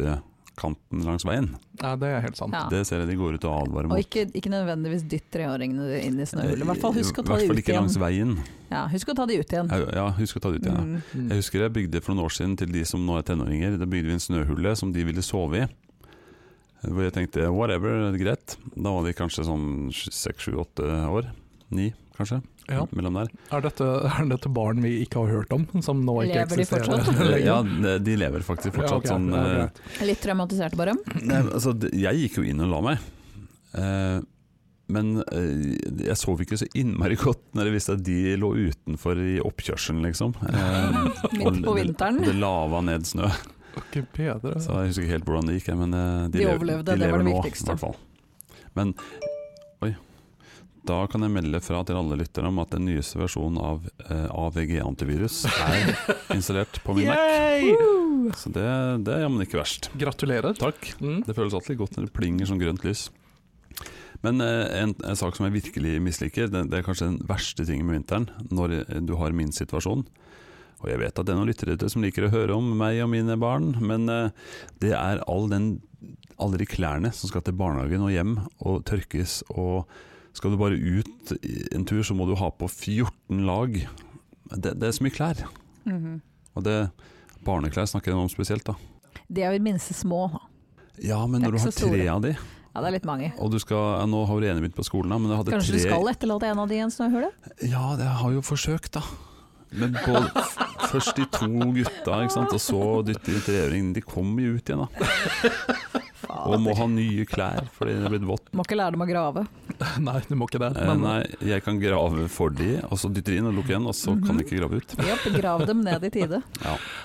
S2: brøytekanten langs veien.
S3: Nei, det er helt sant.
S4: ja.
S2: Det ser jeg de går ut og advarer
S4: Og
S2: mot.
S4: ikke, ikke nødvendigvis dytt treåringene inn i snøhullet. I hvert fall husk å ta
S2: Eh, I
S4: de
S2: hvert fall
S4: ut
S2: ikke langs
S4: igjen.
S2: veien.
S4: Ja, husk å ta de ut igjen.
S2: Ja, Ja, husk å ta det ut igjen. Ja.
S4: Mm.
S3: Mm.
S2: Jeg husker jeg bygde for noen år siden til de som nå er tenåringer. Da bygde vi en snøhule som de ville sove i. eh, Hvor jeg tenkte whatever, greit. Da var de kanskje sånn sju- seks, sju, åtte år. ni, kanskje.
S3: Ja.
S2: Mellom der.
S3: Er, dette, er dette barn vi ikke har hørt om, som nå ikke
S4: Lever de
S3: eksisterer?
S4: fortsatt?
S3: lenger?
S2: Eh, Ja, de de lever faktisk
S3: Ja,
S2: fortsatt
S3: ok.
S2: sånn
S3: Ja,
S2: eh,
S3: ok.
S4: Litt traumatiserte, bare.
S2: Nei, altså, det- jeg gikk jo inn og la meg. Eh, men eh, jeg sov ikke så innmari godt når jeg visste at de lå utenfor i oppkjørselen, liksom. Eh, og
S4: Midt på
S2: det-
S4: vinteren.
S2: Det lava ned snø.
S3: Ikke bedre.
S2: Så jeg husker ikke helt hvordan det gikk, jeg, men eh,
S4: De
S2: de, lever-
S4: overlevde,
S2: de
S4: det
S2: lever
S4: var det
S2: nå,
S4: viktigste.
S2: i hvert fall. Men oi. Da kan jeg melde fra til alle lytterne om at den nyeste versjonen av eh, AVG-antivirus er installert på min Mac.
S3: Yay!
S4: Woo!
S2: Så det, det er jammen ikke verst.
S3: Gratulerer.
S2: Takk.
S3: Mm.
S2: Det føles alltid godt når det plinger sånn grønt lys. Men eh, en, en sak som jeg virkelig misliker, det, det er kanskje den verste tingen med vinteren, når eh, du har min situasjon. Og jeg vet at det er noen lyttere ute som liker å høre om meg og mine barn, men eh, det er all den, alle de klærne som skal til barnehagen og hjem og tørkes, og skal du bare ut i en tur, så må du ha på 14 lag. Det, det er så mye klær.
S4: Mhm.
S2: Og det, barneklær snakker jeg om spesielt, da.
S4: De er jo minste små.
S2: Ja, men
S4: Det
S2: når
S4: er
S2: du
S4: ikke
S2: har
S4: så
S2: tre
S4: store.
S2: av de
S4: Ja, det er litt mange.
S2: Og du skal, ja, nå har du ene begynt på skolen, da, men jeg hadde
S4: Kanskje
S2: tre
S4: du skal etterlate en av de i en snøhule?
S2: Ja, jeg har jo forsøkt, da. Men på, f- først de to gutta, ikke sant? og så dytte i en treåring. De kommer jo ut igjen, da. Og må ha nye klær fordi det er blitt vått.
S4: Må ikke lære dem å grave.
S3: Nei, du må ikke det.
S2: Eh,
S3: Men
S2: nei, jeg kan grave for de, og så dytter de inn og lukker igjen, og så kan
S3: Mhm.
S2: de ikke grave ut.
S4: Jopp, grav dem ned i tide.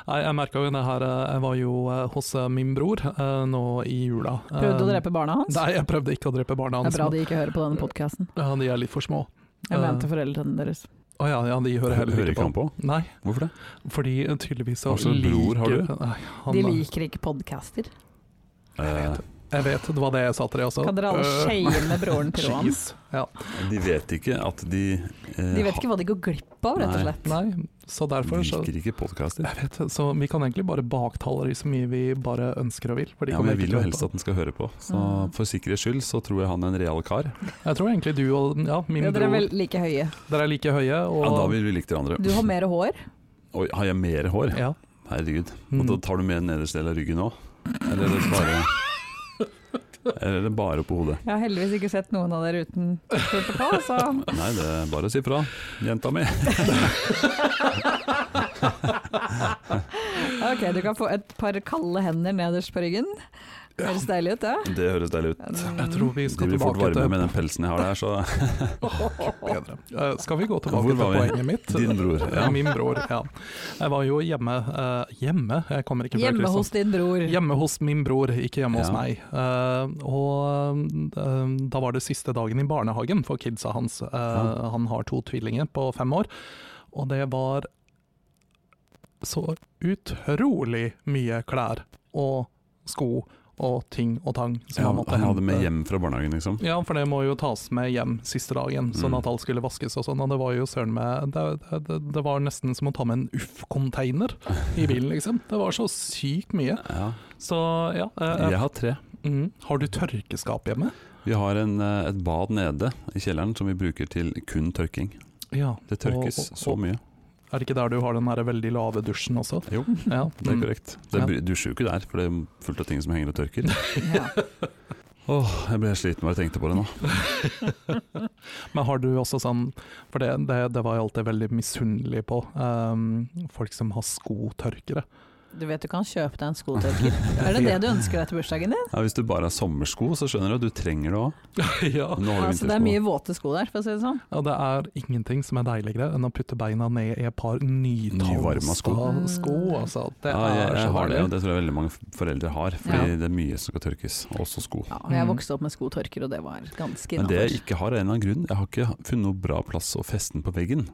S3: Nei, jeg merka jo det her eh, Jeg var jo eh, hos eh, min bror eh, nå i jula.
S4: Prøvde å
S3: Eh,
S4: drepe barna hans.
S3: Nei, jeg prøvde ikke å drepe barna
S4: Det
S3: hans.
S4: er bra de ikke hører på denne podkasten.
S3: Ja, de er litt for små.
S4: Jeg
S3: Eh,
S4: mente foreldrene deres.
S3: Å ja, ja, de hører heller
S2: Hører ikke han på?
S3: Nei,
S2: Hvorfor det?
S3: fordi eh, tydeligvis så
S2: Hva slags bror har du?
S3: Nei, han,
S4: De liker ikke podcaster.
S2: Eh,
S3: Jeg vet, det var det jeg sa til deg også.
S4: Kan dere alle
S3: Eh,
S4: shame broren til Roan?
S3: jeez. Ja.
S2: Eh, de vet ikke at de eh,
S4: De vet ikke hva de går glipp av, rett og
S2: Nei.
S4: slett.
S3: Nei, så derfor så
S2: liker ikke podkaster.
S3: jeg vet, så vi kan egentlig bare baktale de så mye vi bare ønsker og vil. For de
S2: Ja,
S3: kommer
S2: men jeg vil
S3: ikke
S2: jo
S3: til å
S2: helst
S3: høre
S2: at den skal høre på, så
S4: Mm.
S2: for sikkerhets skyld så tror jeg han er en real kar.
S3: på. Jeg tror egentlig du og ja, min
S4: Ja, dere er
S3: bror
S4: vel like høye.
S3: dere er like høye. Og,
S2: Ja, da vil vi like hverandre.
S4: Du har mer hår.
S2: Oi, har jeg mer hår?
S3: Ja.
S2: Herregud. Og da
S3: Mm.
S2: tar du med nederste del av ryggen òg? Eller er det bare Eller er det bare på hodet?
S4: Jeg har heldigvis ikke sett noen av dere uten skjorte på, så
S2: Nei, det er bare å si fra, jenta mi.
S4: Ok, du kan få et par kalde hender nederst på ryggen. Høres deilig ut, det.
S2: Det høres deilig ut.
S3: Jeg tror vi
S2: De
S3: skal
S2: blir fort
S3: tilbake
S2: varme
S3: til
S2: med den pelsen jeg har der, så
S3: bedre. Eh, Skal vi gå
S2: Hvor
S3: tilbake til
S2: var vi?
S3: poenget mitt?
S2: Din bror. Ja.
S3: Min bror, ja. Jeg var jo hjemme eh, Hjemme? Jeg kommer ikke fra
S4: Hjemme hos
S3: Kristiansand.
S4: din bror.
S3: Hjemme hos min bror, ikke hjemme hos
S2: Ja.
S3: meg. Eh, og eh, da var det siste dagen i barnehagen for kidsa hans. Eh,
S2: Ja.
S3: Han har to tvillinger på fem år, og det var så utrolig mye klær og sko og ting og tang som
S2: Ja,
S3: han måtte
S2: han hadde med
S3: hente.
S2: hjem fra barnehagen, liksom.
S3: Ja, for det må jo tas med hjem siste dagen, sånn
S2: Mm.
S3: at alt skulle vaskes og sånn. Og det var jo søren meg Det, det- det, det var nesten som å ta med en UFF-container i bilen, liksom. Det var så sykt mye.
S2: Ja.
S3: Så ja. eh,
S2: Jeg har tre.
S3: mm. Har du tørkeskap hjemme?
S2: Vi har en, eh, et bad nede i kjelleren som vi bruker til kun tørking.
S3: Ja.
S2: Det tørkes
S3: Og- og-
S2: så mye.
S3: Er det ikke der du har den der veldig lave dusjen også?
S2: Jo,
S3: Ja.
S2: det er
S3: mm.
S2: korrekt. Det br- dusjer jo ikke der, for det er fullt av ting som henger og tørker.
S4: Ja.
S2: Åh, jeg ble sliten bare jeg tenkte på det nå.
S3: Men har du også sånn For det, det, det var jeg alltid veldig misunnelig på. eh, folk som har skotørkere.
S4: Du vet du kan kjøpe deg en skotørker. Er det det du ønsker deg til bursdagen din?
S2: Ja, hvis du bare har sommersko, så skjønner du at du trenger det òg.
S3: ja.
S2: Nå har du
S4: Altså, det
S2: vintersko.
S4: er mye våte sko der, for å si det sånn.
S3: Ja, det er ingenting som er deiligere enn å putte beina ned i et par
S2: Nyvarma
S3: nytalsta
S2: sko.
S3: sko. altså. Det
S2: ja, jeg,
S3: er
S2: jeg
S3: så
S2: har det, og
S3: deilig.
S2: det tror jeg veldig mange f- foreldre har. Fordi
S4: Ja.
S2: det er mye som skal tørkes, også sko.
S4: Ja, og jeg
S3: Mm.
S4: vokste opp med skotørker, og det var ganske
S2: Men det
S4: innafor.
S2: jeg ikke har, er en eller annen grunn. Jeg har ikke funnet noe bra plass å feste den på veggen.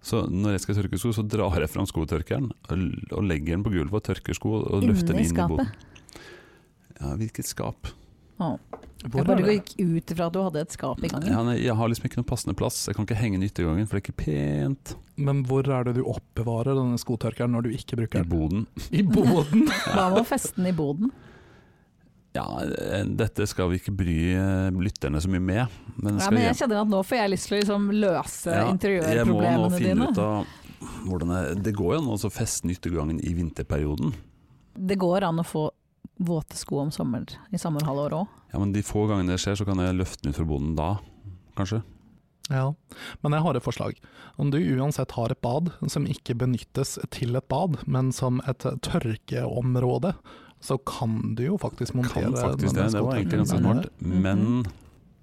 S2: Så når jeg skal tørke sko, så drar jeg fram skotørkeren og l- og legger den på gulvet og tørker sko og
S4: Inni
S2: løfter den inn i
S4: skapet?
S2: boden. Ja, hvilket skap?
S3: Hvor
S4: Jeg
S3: er
S4: bare
S3: det?
S4: gikk ut ifra at du hadde et skap i gangen.
S2: Ja, nei, jeg har liksom ikke noe passende plass. Jeg kan ikke henge den i yttergangen, for det er ikke pent.
S3: Men hvor er det du oppbevarer denne skotørkeren når du ikke
S2: I
S3: bruker den?
S2: boden.
S3: I boden!
S4: Hva med å feste den i boden?
S2: Ja, eh, dette skal vi ikke bry eh, lytterne så mye med. Men,
S4: Ja,
S2: skal
S4: men
S2: hjem-
S4: jeg kjenner at nå får jeg lyst til å liksom løse
S2: Ja, Jeg må nå
S4: interiørproblemene
S2: finne
S4: dine.
S2: ut av hvordan jeg, Det går jo an å feste nyttegangen i vinterperioden.
S4: Det går an å få våte sko om sommer, i sommerhalvåret òg.
S2: Ja, men De få gangene det skjer, så kan jeg løfte den ut fra bonden da, kanskje.
S3: Ja, men jeg har et forslag. Om du uansett har et bad som ikke benyttes til et bad, men som et tørkeområde, så kan du jo faktisk montere
S2: Kan faktisk
S3: denne eh,
S2: det, det var
S3: skotøyeren
S2: egentlig ganske
S3: der
S2: smart.
S3: nede.
S2: Men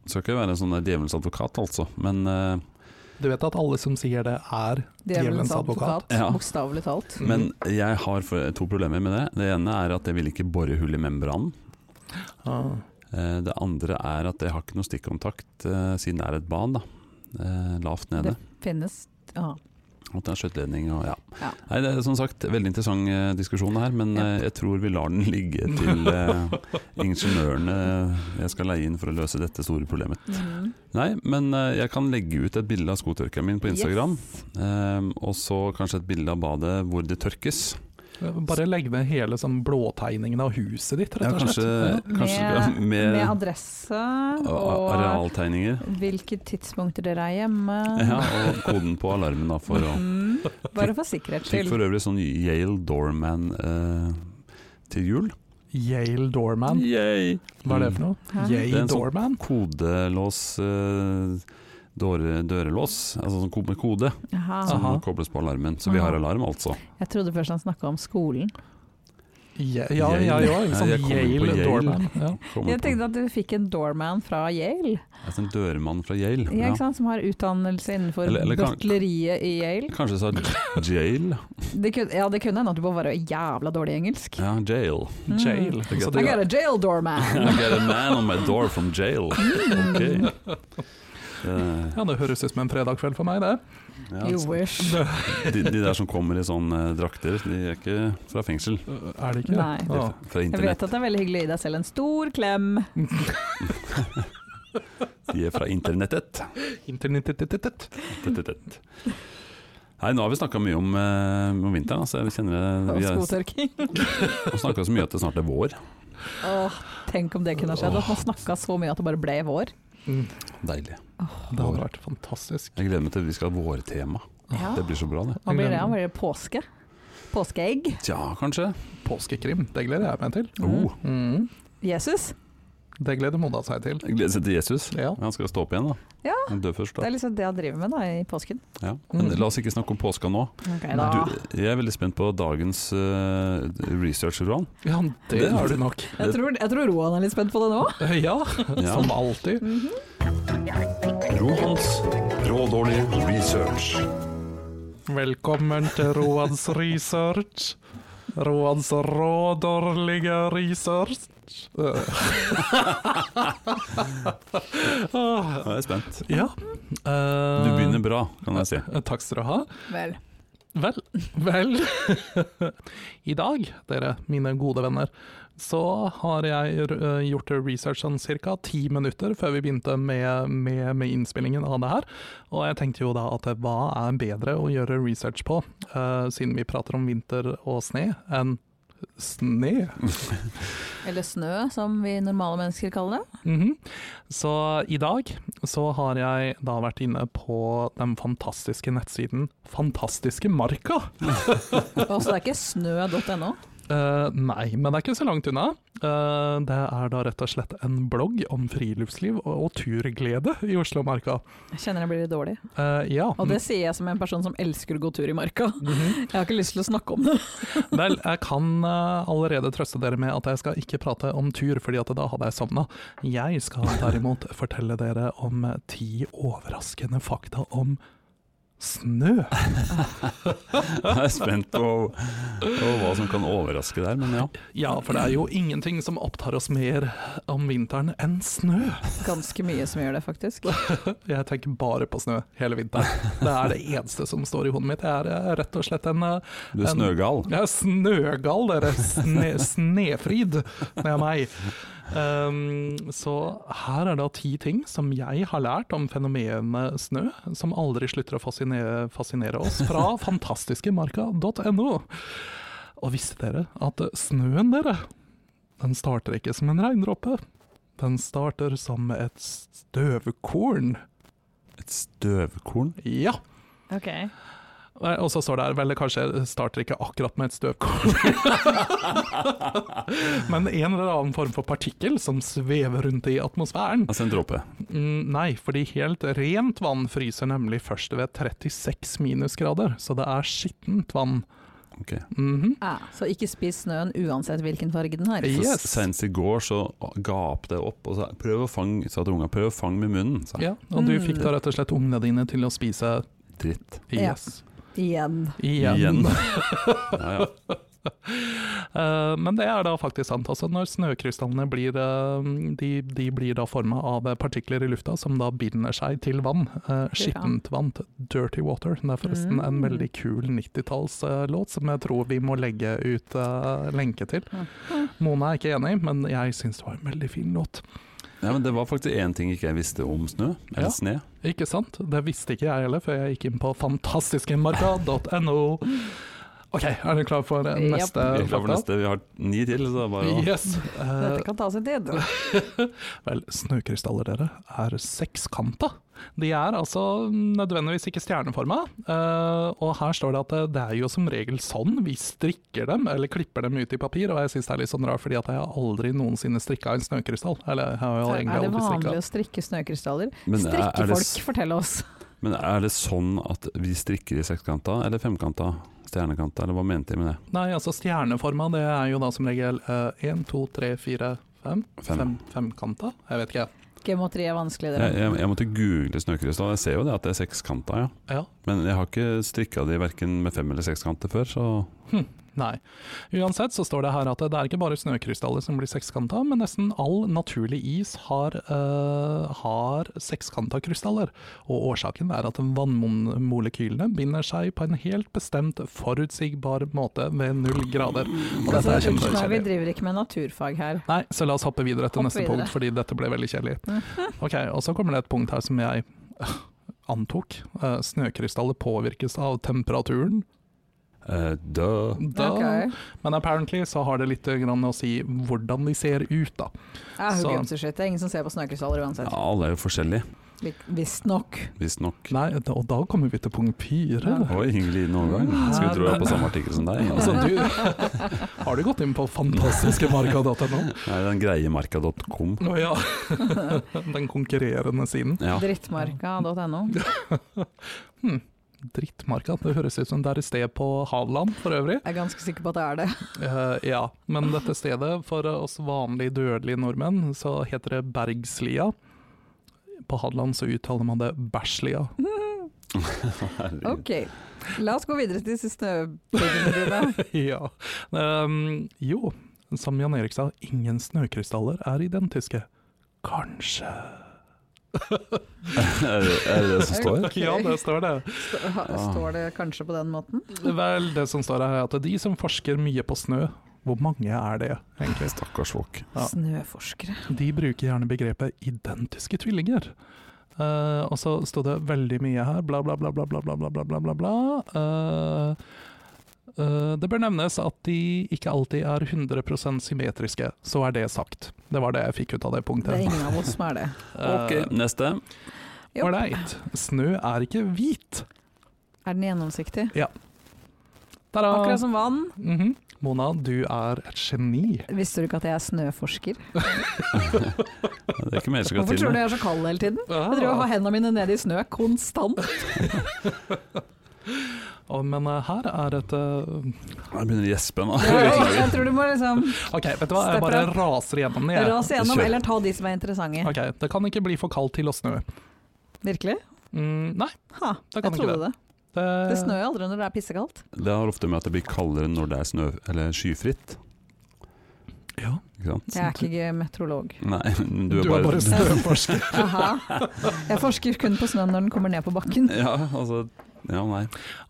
S2: skal ikke være en sånn der djevelens advokat, altså. Men, eh,
S3: Du vet at alle som sier det, er
S4: Djevelens
S3: Djevelens advokat.
S4: advokat,
S2: Ja.
S4: bokstavelig talt.
S2: men jeg har for- to problemer med det. Det ene er at jeg vil ikke bore hull i membranen.
S3: Ah.
S2: Eh, Det andre er at jeg har ikke noe stikkontakt eh, siden det er et bad, da. Eh, Lavt nede.
S4: Det finnes ja.
S2: At det er skjøteledning og ja.
S4: Ja.
S2: Nei, det er som sagt veldig interessant eh, diskusjon det her, men
S4: Ja.
S2: eh, jeg tror vi lar den ligge til eh, ingeniørene eh, jeg skal leie inn for å løse dette store problemet.
S4: Mhm.
S2: Nei, men eh, jeg kan legge ut et bilde av skotørkeren min på Instagram.
S4: Yes.
S2: eh, og så kanskje et bilde av badet hvor det tørkes.
S3: Bare legg ned hele sånn blåtegningen av huset ditt,
S2: Ja,
S3: rett og
S2: kanskje,
S3: slett.
S2: kanskje
S4: Med,
S2: med,
S4: med adresse
S2: Eh. a-
S4: og
S2: arealtegninger.
S4: hvilke tidspunkter dere er hjemme.
S2: Ja, og koden på alarmen da, for å
S4: Mhm. Bare for sikkerhets
S2: Fikk
S4: skyld.
S2: for øvrig sånn Yale Doorman eh, til jul.
S3: Yale Doorman,
S2: Yay!
S3: hva er det for noe?
S4: Hæ?
S2: Det er
S3: Yale
S2: en sånn-
S3: Doorman?
S2: Kodelås eh, dåre, dørelås, altså sånn ko- med kode,
S4: Jaha.
S2: som
S3: Aha.
S2: kobles på alarmen. Så vi har
S4: Aha.
S2: alarm, altså.
S4: Jeg trodde først han snakka om skolen.
S3: Ja, ja,
S2: Yale.
S3: ja, ja, sånn
S2: Jeg kom inn på
S3: Yale
S2: Yale.
S3: Doorman. Ja.
S2: Kommer på.
S4: Jeg tenkte at du fikk en doorman fra Yale,
S2: Altså en dørmann fra Yale.
S4: ja,
S2: Ja.
S4: ikke sant? som har utdannelse innenfor
S2: Eller- eller kan-
S4: butleriet i Yale.
S2: Kanskje jeg sa jail?
S4: Det kunne, ja, det kunne hende at du bare var jævla dårlig i engelsk.
S2: Ja, jail.
S4: Mm.
S3: Jail. Så
S4: I
S3: det-
S4: got a jail doorman!
S2: I got a man on my door from jail. Ok.
S4: Mm.
S2: Eh,
S3: Ja, det høres ut som en fredagskveld for meg, det.
S2: ja, altså,
S4: You wish.
S2: de, de der som kommer i sånne eh, drakter, de er ikke fra fengsel.
S3: Er det ikke?
S4: Nei.
S2: De
S3: Ja.
S2: er fra
S4: Jeg
S2: internett.
S4: vet at det er veldig hyggelig å gi deg selv en stor klem.
S2: De er fra internettet.
S3: Internettettettet.
S2: Tett, tett, tett. Nei, nå har vi snakka mye om, eh, om vinteren. Altså. Jeg kjenner det,
S4: Og
S2: vi har
S4: skotørking.
S2: snakka så mye at det snart er vår.
S4: Åh, tenk om det kunne ha skjedd. At man snakka så mye at det bare ble vår.
S3: Mm.
S2: Deilig.
S3: Det hadde vært fantastisk.
S2: Jeg gleder meg til vi skal ha vårtema.
S4: Ja.
S2: Det blir så bra, det.
S4: Hva blir det? Blir det påske? Påskeegg?
S2: Tja, kanskje.
S3: Påskekrim, det gleder jeg meg til.
S2: Oh,
S3: Mm.
S4: Jesus?
S3: Det gleder Mona seg til.
S2: jeg gleder seg til Jesus.
S3: Ja.
S2: Han skal stå opp igjen, da.
S4: Ja.
S2: Han dør først,
S4: Det
S2: da.
S4: er liksom det han driver med da, i påsken.
S2: Ja. Men la oss ikke snakke om påska nå.
S4: Ok, da.
S2: Du, jeg er veldig spent på dagens uh, research, Roan.
S3: Ja, det
S2: Det-
S3: har du nok.
S4: Jeg tror, jeg tror Roan er litt spent på det nå.
S3: Ja, Mm.
S2: Ja.
S3: som alltid.
S1: Rohans rådårlig research.
S3: Velkommen til Roans research. Roans rådårlige research. Ah.
S2: Ja, Jeg er spent.
S3: Ja. Eh,
S2: Du begynner bra, kan jeg si.
S3: Takk skal du ha.
S4: Vel.
S3: Vel, vel. I dag, dere, mine gode venner, så har jeg eh, gjort research sånn ca. ti minutter før vi begynte med, med, med innspillingen av det her. Og jeg tenkte jo da at eh, hva er bedre å gjøre research på, eh, siden vi prater om vinter og sne, enn sne?
S4: Eller snø, som vi normale mennesker kaller det.
S3: Mhm. Så i dag så har jeg da vært inne på den fantastiske nettsiden Fantastiske Marka.
S4: Og så det er ikke snø.no.
S3: Eh, nei, men det er ikke så langt unna. Eh, det er da rett og slett en blogg om friluftsliv og, og turglede i Oslomarka.
S4: Jeg kjenner jeg blir litt dårlig.
S3: Eh, ja. Mhm.
S4: Og det sier jeg som en person som elsker å gå tur i marka. Jeg har ikke lyst til å snakke om det.
S3: Vel, jeg kan eh, allerede trøste dere med at jeg skal ikke prate om tur, fordi at da hadde jeg sovna. Jeg skal derimot fortelle dere om eh, ti overraskende fakta om snø.
S2: Jeg er spent på, på hva som kan overraske der, men ja.
S3: Ja, for det er jo ingenting som opptar oss mer om vinteren enn snø.
S4: Ganske mye som gjør det, faktisk.
S3: Jeg tenker bare på snø hele vinteren. Det er det eneste som står i hodet mitt. Jeg er eh, rett og slett en eh,
S2: Du er
S3: En-
S2: snøgal.
S3: Jeg er snøgal, dere. Sne, snefrid. Det er meg. Ehm, så her er da ti ting som jeg har lært om fenomenet snø, som aldri slutter å fascinere, fascinere oss, fra fantastiskemarka.no. Og visste dere at snøen, dere, den starter ikke som en regndråpe. Den starter som et støvkorn.
S2: Et støvkorn.
S3: Ja.
S4: Ok.
S3: Nei, Og så står det her Vel, det kanskje starter ikke akkurat med et støvkorn. Men en eller annen form for partikkel som svever rundt i atmosfæren.
S2: Altså en dråpe.
S3: Mm, Nei, fordi helt rent vann fryser nemlig først ved 36 minusgrader, så det er skittent vann.
S2: Ok.
S3: Mhm.
S4: Ja, Ah, så ikke spis snøen uansett hvilken farge den har.
S3: Ja.
S2: Så
S3: Yes.
S2: Senest i går så gapte jeg opp og sa prøv å fange, sa til unga, prøv å fange med munnen. Sa jeg.
S3: Ja, og du
S4: Mm.
S3: fikk da rett og slett ungene dine til å spise
S2: Dritt.
S4: Ja.
S3: Yes.
S4: Igjen.
S3: Igjen.
S2: Igjen. Ja, ja.
S3: Eh, men det er da faktisk sant. Altså når snøkrystallene blir, eh, de, de blir da forma av partikler i lufta som da binder seg til vann. Eh, Skittent vann. Dirty water. Det er forresten en
S4: Mm.
S3: veldig kul 90-tallslåt som jeg tror vi må legge ut eh, lenke til. Mona er ikke enig, men jeg syns det var en veldig fin låt.
S2: Ja, men det var faktisk én ting ikke jeg visste om snø, eller
S3: Ja.
S2: sne.
S3: Ikke sant? Det visste ikke jeg heller før jeg gikk inn på fantastiskemarka.no. OK, er du klar for eh,
S4: Japp.
S2: Vi
S3: neste?
S2: er klar for
S3: fakta?
S2: neste, vi har ni til, så det er bare å
S3: Yes. Eh,
S4: Dette kan ta sin tid.
S3: Vel, snøkrystaller, dere, er sekskanta. De er altså nødvendigvis ikke stjerneforma. eh, og her står det at det, det er jo som regel sånn vi strikker dem, eller klipper dem ut i papir. Og jeg syns det er litt sånn rart, fordi at jeg har aldri noensinne strikka en snøkrystall. Eller jeg har jo
S4: Er
S3: egentlig aldri
S4: det
S3: eh,
S4: vanlig
S3: strikka.
S4: å strikke snøkrystaller?
S2: Men er- er det
S4: Strikkefolk,
S2: s-
S4: fortell oss.
S2: Men er det sånn at vi strikker i sekskanta, eller femkanta? Stjernekanta, eller hva mente jeg med det?
S3: Nei, altså stjerneforma, det er jo da som regel én, to, tre, fire, fem.
S2: Fem.
S3: Fem- Femkanta? jeg vet ikke.
S4: Geometri er vanskelig,
S2: Jeg,
S4: dere.
S2: jeg, jeg måtte google snøkrystall, jeg ser jo det at det er sekskanta, ja.
S3: Ja.
S2: Men jeg har ikke strikka de verken med fem- eller sekskanter før, så
S3: Nei. Uansett så står det her at det er ikke bare snøkrystaller som blir sekskanta, men nesten all naturlig is har, eh, har sekskanta krystaller. Og årsaken er at vannmolekylene binder seg på en helt bestemt forutsigbar måte ved null grader. Og dette er
S4: Altså, unnskyld meg, vi
S3: kjempekjedelig.
S4: driver ikke med naturfag her.
S3: Nei, så la oss hoppe videre til
S4: Hopp
S3: neste
S4: videre.
S3: punkt, fordi dette ble veldig kjedelig. Ok, og så kommer det et punkt her som jeg øh, antok. Eh, snøkrystaller påvirkes av temperaturen.
S2: eh, død.
S3: Da
S4: Ok.
S3: Men apparently så har det litt grann å si hvordan de ser ut, da.
S4: Ja, Ah, who
S3: Så-
S4: gives a shit? Det er ingen som ser på snøkrystaller
S2: Ja,
S4: uansett.
S2: alle er jo forskjellige,
S4: Lik- Visstnok.
S2: visstnok.
S3: Nei, da- og da kommer vi til punkt fire.
S2: Oi, hyggelig noen gang. Skulle tro jeg var på samme artikkel som deg.
S3: Altså,
S2: Nei,
S3: du, har du gått inn på fantastiskemarka.no?
S2: den greie marka.com.
S3: Å ja. Den konkurrerende siden.
S2: Ja.
S4: Drittmarka.no.
S3: Hm. Drittmarka, det høres ut som det er et sted på Havland for øvrig.
S4: Jeg er ganske sikker på at det er det.
S3: Eh, ja, men dette stedet, for oss vanlige dødelige nordmenn, så heter det Bergslia. På Hadeland så uttaler man det Bæsjlia.
S2: Herregud.
S4: Ok, la oss gå videre til disse snøbildene dine.
S3: ja. Ehm, jo, som Jan Erik sa, ingen snøkrystaller er identiske. Kanskje.
S2: Er det er det det som står?
S4: Ok.
S3: Ja, det står det.
S4: St- ha- Står det kanskje på den måten?
S3: Vel, det som står her er at de som forsker mye på snø, hvor mange er det egentlig?
S2: Stakkars folk.
S3: Ja.
S4: Snøforskere.
S3: De bruker gjerne begrepet identiske tvillinger. Eh, og så sto det veldig mye her, bla, bla, bla, bla, bla, bla, bla, bla, bla, bla, bla. Eh, eh, det bør nevnes at de ikke alltid er 100 symmetriske. Så er det sagt. Det var det jeg fikk ut av det punktet.
S4: Det er ingen av oss som er det.
S2: Ok, Eh, neste.
S4: Jo.
S3: Ålreit. Eh, Snø er ikke hvit.
S4: Er den gjennomsiktig?
S3: Ta-da!
S4: Akkurat som vann.
S3: Mhm. Mona, du er et geni.
S4: Visste du ikke at jeg er snøforsker?
S2: Det er ikke mer som skal til.
S4: Hvorfor tror
S2: nå.
S4: du jeg er så kald hele tiden? Jeg driver og
S3: Ah.
S4: har hendene mine nede i snø konstant.
S3: Å, men eh, her er et eh,
S2: Jeg begynner å gjespe nå.
S4: Jeg tror du må liksom
S3: OK, vet du hva, jeg bare
S4: Stepper opp.
S3: raser gjennom det. jeg.
S4: rase gjennom,
S2: Kjør.
S4: eller ta de som er interessante.
S3: OK, det kan ikke bli for kaldt til å snø.
S4: Virkelig?
S3: Mm, nei,
S4: Ha,
S3: det
S4: jeg
S3: kan ikke
S4: trodde
S3: det. Eh.
S4: det.
S3: det.
S4: Det snør jo aldri når det er pissekaldt.
S2: Det har ofte med at det blir kaldere når det er snø, eller skyfritt.
S3: Ja.
S2: Ikke sant?
S4: Jeg er ikke meteorolog.
S2: Nei, men
S3: Du er bare, snøforsker.
S4: Aha. Jeg forsker kun på snøen når den kommer ned på bakken.
S2: Ja, altså Ja, nei.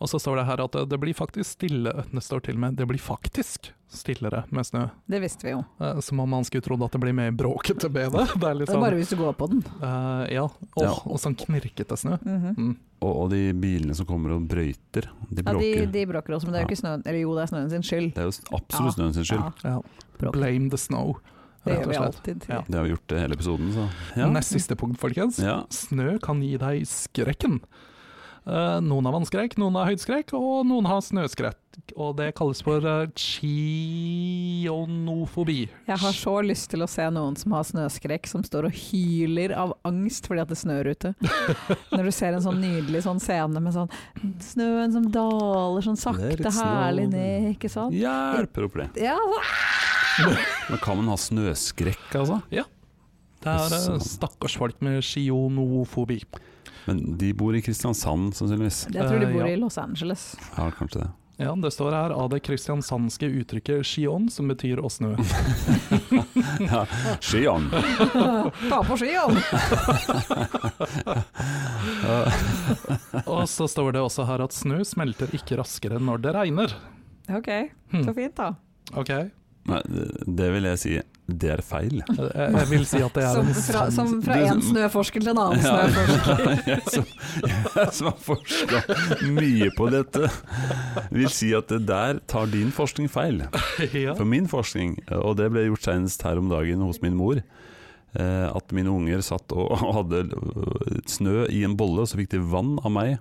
S3: Og så står det her at eh, det blir faktisk stille Det står til og med det blir faktisk stillere med snø.
S4: Det visste vi jo.
S3: Eh, Som om man skulle trodd at det blir mer bråkete med det. Det er litt
S4: Det er
S3: sånn
S4: bare hvis du går på den.
S3: eh, Ja. Åh,
S2: Ja.
S3: Og sånn knirkete snø.
S4: Mhm.
S3: Mm.
S2: Og, og de bilene som kommer og brøyter, de
S4: Ja,
S2: bråker.
S4: de, de bråker også, men det er jo ikke snøen Eller jo, det er snøen sin skyld.
S2: Det er jo absolutt snøen sin skyld.
S4: Ja,
S3: Ja.
S4: Bråk.
S3: Blame the snow,
S4: det
S3: rett
S4: gjør
S3: og
S4: vi
S3: slett.
S4: alltid.
S3: Ja.
S2: Det har vi gjort eh, hele episoden, så ja.
S3: Nest siste punkt, folkens.
S2: ja.
S3: Snø kan gi deg skrekken. Eh, noen har vannskrekk, noen har høydeskrekk, og noen har snøskrekk. Og det kalles for eh, chionofobi.
S4: Jeg har så lyst til å se noen som har snøskrekk, som står og hyler av angst fordi at det snør ute. Når du ser en sånn nydelig sånn scene med sånn snøen som daler sånn
S2: Det er
S4: sakte,
S2: litt snø.
S4: herlig ned, ikke sant?
S2: Hjelper opp det.
S4: Ja,
S2: Men kan man ha snøskrekk, altså?
S3: Det er eh,
S2: Sånn.
S3: stakkars folk med chionofobi.
S2: Men de bor i Kristiansand, sannsynligvis.
S4: jeg tror de
S3: Eh,
S4: bor
S3: ja.
S4: i Los Angeles.
S2: Ja, kanskje det.
S3: Ja, det står her av det kristiansandske uttrykket chion, som betyr å snø.
S2: Skien!
S4: Ta på skiene!
S3: Og så står det også her at snø smelter ikke raskere når det regner.
S4: Ok,
S3: Hmm.
S4: så fint da.
S3: Ok, jeg,
S2: Nei, det- det vil jeg si, det er feil.
S3: jeg vil si at det er
S4: Som
S3: en
S4: fra,
S3: sann
S4: som fra
S2: Det er
S4: en
S2: sånn-
S4: snøforsker til en annen
S2: Ja.
S4: snøforsker.
S2: Jeg som, jeg som har forska mye på dette, vil si at det der tar din forskning feil.
S3: ja.
S2: For min forskning, og det ble gjort senest her om dagen hos min mor, eh, at mine unger satt og hadde eh, snø i en bolle, så fikk de vann av meg,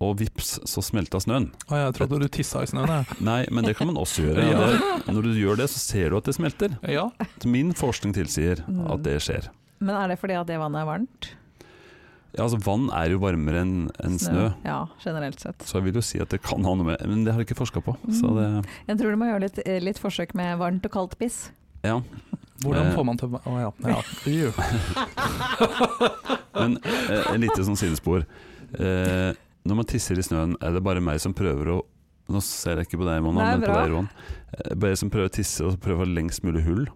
S2: og vips, så smelta snøen.
S3: Å, jeg trodde du tissa i snøen, jeg.
S2: Nei, men det kan man også gjøre.
S3: Ja.
S2: Det, når du gjør det, så ser du at det smelter.
S3: Ja.
S2: Så Min forskning tilsier
S4: Mm.
S2: at det skjer.
S4: Men er det fordi at det vannet er varmt?
S2: Ja, altså Vann er jo varmere enn enn snø.
S4: Ja, generelt sett.
S2: Så jeg vil jo si at det kan ha noe med Men det har jeg ikke forska på. Så det,
S4: Jeg tror du må gjøre litt, eh, litt forsøk med varmt og kaldt piss.
S2: ja.
S3: Hvordan
S2: Eh.
S3: får man til Å ja. ja. Jo.
S2: Men eh, et lite sånn sidespor. Eh, når man tisser i snøen, er det bare meg som prøver å Nå ser jeg ikke på deg, Mona,
S4: Nei,
S2: men på
S4: bra.
S2: deg, Roan. Eh, Bare som prøver å tisse og prøver å ha lengst mulig hull.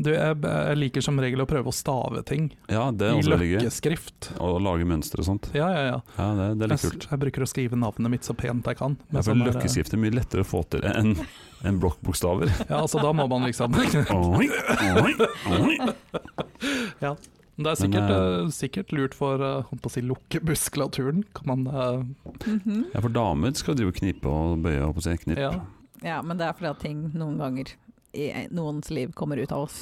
S3: Du, jeg, jeg liker som regel å prøve å stave ting
S2: Ja, det er
S3: i
S2: også veldig gøy.
S3: løkkeskrift.
S2: Å lage mønstre og sånt.
S3: Ja, ja, ja.
S2: Ja, det, det er litt
S3: Jeg,
S2: kult.
S3: s- jeg bruker å skrive navnet mitt så pent jeg kan.
S2: Ja,
S3: med
S2: for
S3: sånn der-
S2: Løkkeskrift Altså, er mye lettere å få til enn enn blokkbokstaver.
S3: Ja, altså da må man liksom
S2: Oi, oi, oi.
S3: Det er
S2: Men,
S3: sikkert,
S2: eh,
S3: eh, sikkert lurt for eh, holdt på å si lukkemuskulaturen. Kan man eh,
S4: Mhm.
S2: Ja, for damer skal drive og knipe og bøye, holdt på å si. Knipp.
S3: Ja.
S4: Ja, men det er fordi at ting noen ganger i noens liv kommer ut av oss.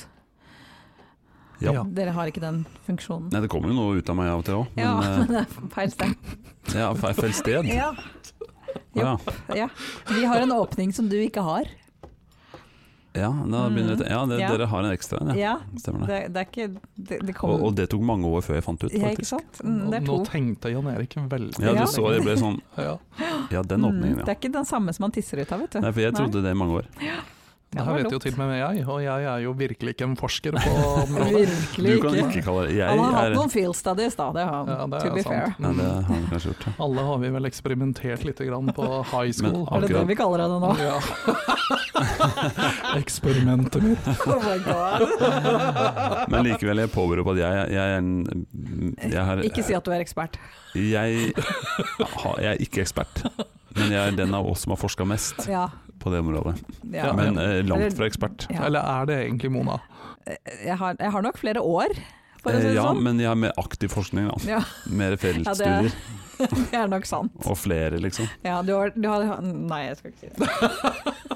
S2: Ja.
S3: Ja.
S4: Dere har ikke den funksjonen.
S2: Nei, det kommer jo noe ut av meg av og til òg,
S4: Ja,
S2: men
S4: men det er feil sted.
S2: eh, ja, feil- feil sted.
S4: Ja.
S2: Ja.
S4: ja. Vi har en åpning som du ikke har.
S2: Ja, da begynner det, ja, det,
S4: Mm. Ja.
S2: dere har en ekstra en, ja.
S4: Ja,
S2: Stemmer det.
S4: det, det er ikke Det, det
S2: Og,
S4: kommer
S2: og det tok mange år før jeg fant ut,
S4: ja, ikke
S2: faktisk.
S4: sant? Mm, Det er
S3: Nå
S4: to.
S3: tenkte Jan Erik veldig
S2: Ja,
S4: Ja.
S2: du så jeg ble sånn
S3: Ja.
S2: Ja, den
S4: Mm,
S2: åpningen,
S4: Det
S2: ja.
S4: er ikke den samme som man tisser ut av, vet du.
S2: Nei, for jeg trodde det i mange år.
S3: Det
S4: var
S3: her vet jo
S4: dumt.
S3: til og med jeg, og jeg er jo virkelig ikke en forsker på området.
S2: Du
S4: Virkelig
S2: kan
S4: ikke.
S2: ikke kalle det Jeg
S4: Han har
S2: er
S4: hatt noen field studies, da. Det har han,
S3: Ja, det
S4: to
S3: er
S4: be fair.
S3: sant. Mm.
S2: Nei, det har han kanskje gjort, ja.
S3: Alle har vi vel eksperimentert litt grann på high school.
S2: Men
S4: Er det det
S2: Akkurat.
S4: vi kaller henne nå?
S3: Ja. Eksperimentet mitt.
S4: Oh my god.
S2: Men likevel, jeg påberoper på at jeg, jeg er en jeg, har,
S4: Ikke si at du er ekspert.
S2: jeg, har, jeg er ikke ekspert, men jeg er den av oss som har forska mest
S4: Ja.
S2: på det området.
S4: ja.
S2: Men eh, langt fra ekspert.
S4: ja.
S3: Eller er det egentlig Mona?
S4: Jeg, har, jeg har nok flere år, for å si
S2: Eh,
S4: det
S2: Ja,
S4: sånn.
S2: men jeg har mer aktiv forskning, da.
S4: Ja,
S2: Mer
S4: ja det,
S2: feltstudier,
S4: det er nok sant.
S2: og flere, liksom.
S4: Ja, du har, du har Nei, jeg skal ikke si det.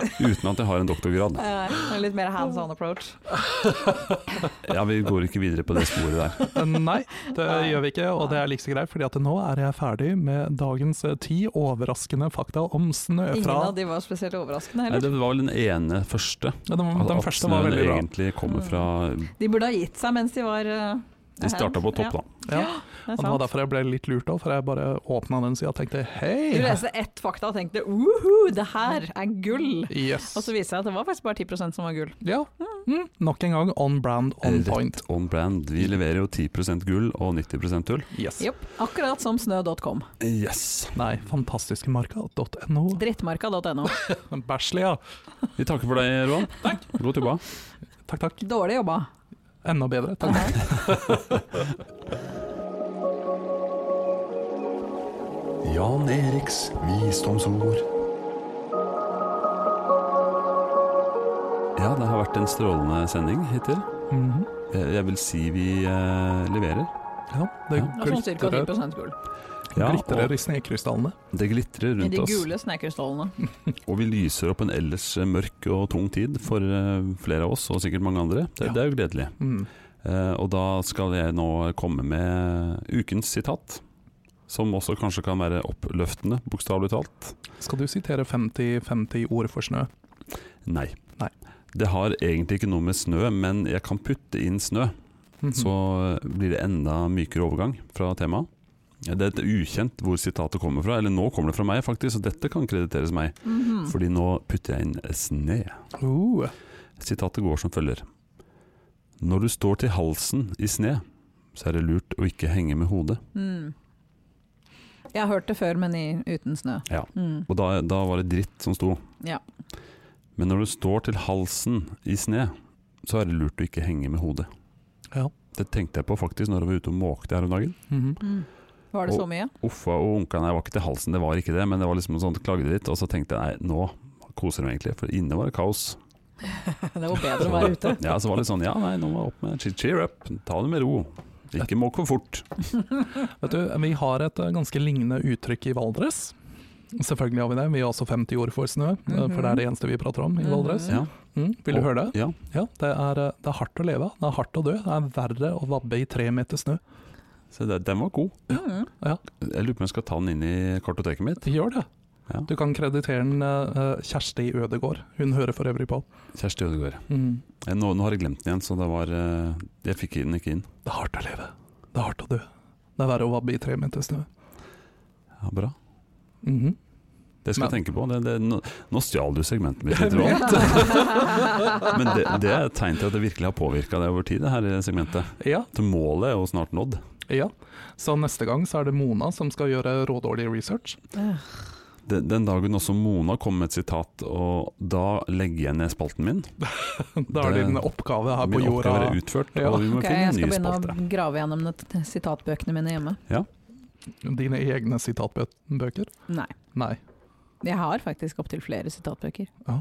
S2: Uten at jeg har en doktorgrad.
S4: Eh, Litt mer hands on approach.
S2: Ja, Vi går ikke videre på det sporet der.
S3: Eh, Nei, det
S4: Nei.
S3: gjør vi ikke, og det er like så greit, fordi at nå er jeg ferdig med dagens eh, ti overraskende fakta om snø
S4: Ingen
S3: fra
S4: av de var spesielt overraskende
S2: Nei,
S4: heller.
S2: det var vel den ene første.
S3: Ja, Den,
S2: At-
S3: den
S2: at
S3: første var
S2: snøen
S3: veldig bra.
S2: egentlig kommer fra
S4: De burde ha gitt seg mens de var eh,
S2: De starta på topp, da.
S3: Ja.
S4: det er
S3: Og det var
S4: sant.
S3: derfor jeg ble litt lurt òg, for jeg bare åpna den sida og tenkte
S4: Du
S3: hei!
S4: leste ett fakta og tenkte uhu, det her er gull.
S3: Yes.
S4: Og så viser det seg at det var faktisk bare 10 som var gull.
S3: Ja. Mm. Nok en gang on brand, on point.
S2: On brand. Vi leverer jo 10 gull og 90 tull.
S3: Yes.
S4: Jopp. Akkurat som snø.com.
S2: Yes!
S3: Nei, fantastiskemarka.no.
S4: Drittmarka.no.
S3: Bæsjli, ja.
S2: Vi takker for deg, Roan. God jobba.
S3: Takk, takk.
S4: Dårlig jobba.
S3: Enda bedre. Takk.
S1: Jan Eriks visdomsord.
S2: Ja, det har vært en strålende sending hittil.
S3: Mhm.
S2: Jeg jeg vil si vi eh, leverer.
S3: Ja, det
S2: Ja.
S4: Det var sånn ca.
S3: glitrer,
S4: 10 gull.
S2: Ja,
S3: glitrer
S2: og
S3: i snekrystallene.
S2: det glitrer
S4: I
S2: rundt
S4: de
S2: oss.
S4: gule snekrystallene.
S2: Og vi lyser opp en ellers eh, mørk og tung tid for eh, flere av oss, og sikkert mange andre. Det,
S3: Ja.
S2: det er jo gledelig.
S3: Mm.
S2: Eh, og da skal jeg nå komme med ukens sitat. Som også kanskje kan være oppløftende, bokstavelig talt.
S3: Skal du sitere 50-50 ord for snø?
S2: Nei.
S3: Nei.
S2: Det har egentlig ikke noe med snø, men jeg kan putte inn snø.
S3: Mhm.
S2: Så eh, blir det enda mykere overgang fra temaet. Det er et ukjent hvor sitatet kommer fra, eller nå kommer det fra meg faktisk, så dette kan krediteres meg.
S4: Mhm.
S2: Fordi nå putter jeg inn sne.
S3: Uh,
S2: Sitatet går som følger. Når du står til halsen i sne, så er det lurt å ikke henge med hodet.
S4: Mm. Jeg har hørt det før, men i, uten snø.
S2: Ja.
S4: Mm.
S2: Og da, da var det dritt som sto.
S4: Ja.
S2: Men når du står til halsen i sne, så er det lurt å ikke henge med hodet.
S3: Ja.
S2: Det tenkte jeg på faktisk når jeg var ute og måkte her om dagen.
S3: mhm.
S4: Mm. Var det
S2: Og-
S4: så mye?
S2: Uffa og unka, nei, jeg var ikke til halsen, det var ikke det, men det var liksom en sånn klagde litt, og så tenkte jeg nei, nå koser jeg meg egentlig, for inne var det kaos.
S4: Det var bedre å være ute.
S2: Ja, så var det sånn, ja nei, nå må jeg opp med, cheer, cheer up, ta det med ro. Ikke måk for fort.
S3: Vet du, vi har et eh, ganske lignende uttrykk i Valdres. Selvfølgelig har vi det. Vi har også 50 ord for snø, eh, for det er det eneste vi prater om
S4: Mm-hmm.
S3: i Valdres.
S2: Ja,
S3: Mm, vil du
S2: Og-
S3: høre
S2: Mhm.
S3: det?
S2: ja.
S3: Ja, det er, eh, det er hardt å leve, det er hardt å dø. Det er verre å vabbe i tre meter snø.
S2: Så det, den var god.
S4: Mhm.
S2: Jeg lurer på om jeg skal ta den inn i kartoteket mitt.
S3: Det gjør det.
S2: Ja.
S3: Du kan kreditere den eh, eh, Kjersti Ødegård. Hun hører for øvrig på.
S2: Kjersti Ødegaard.
S3: Mm.
S2: Eh, Nå, nå har jeg glemt den igjen, så det var, eh, jeg fikk den ikke inn.
S3: Det er hardt å leve. Det er hardt å dø. Det er verre å vabbe i tre meter snø.
S2: Ja, bra.
S3: Mhm.
S2: Det skal jeg tenke på. Det, det, nå, nå stjal du segmentet mitt litt, Roald. Men det, det er et tegn til at det virkelig har påvirka deg over tid, det her segmentet.
S3: Ja,
S2: Så målet er jo snart nådd.
S3: ja. Så neste gang så er det Mona som skal gjøre rådårlig research.
S2: Den, den dagen også Mona kom med et sitat, og da legger jeg ned spalten min.
S3: Da er det
S2: Det-
S3: din oppgave her på
S2: Min
S3: jorda.
S2: oppgave er utført,
S3: Ja.
S2: og vi må
S4: Ok, jeg
S2: finne
S4: skal
S2: en ny
S4: begynne
S2: spalte.
S4: å grave gjennom net- sitatbøkene mine hjemme.
S3: Dine egne sitatbøker?
S4: Nei.
S3: Nei.
S4: Jeg har faktisk opptil flere sitatbøker.
S2: Ja,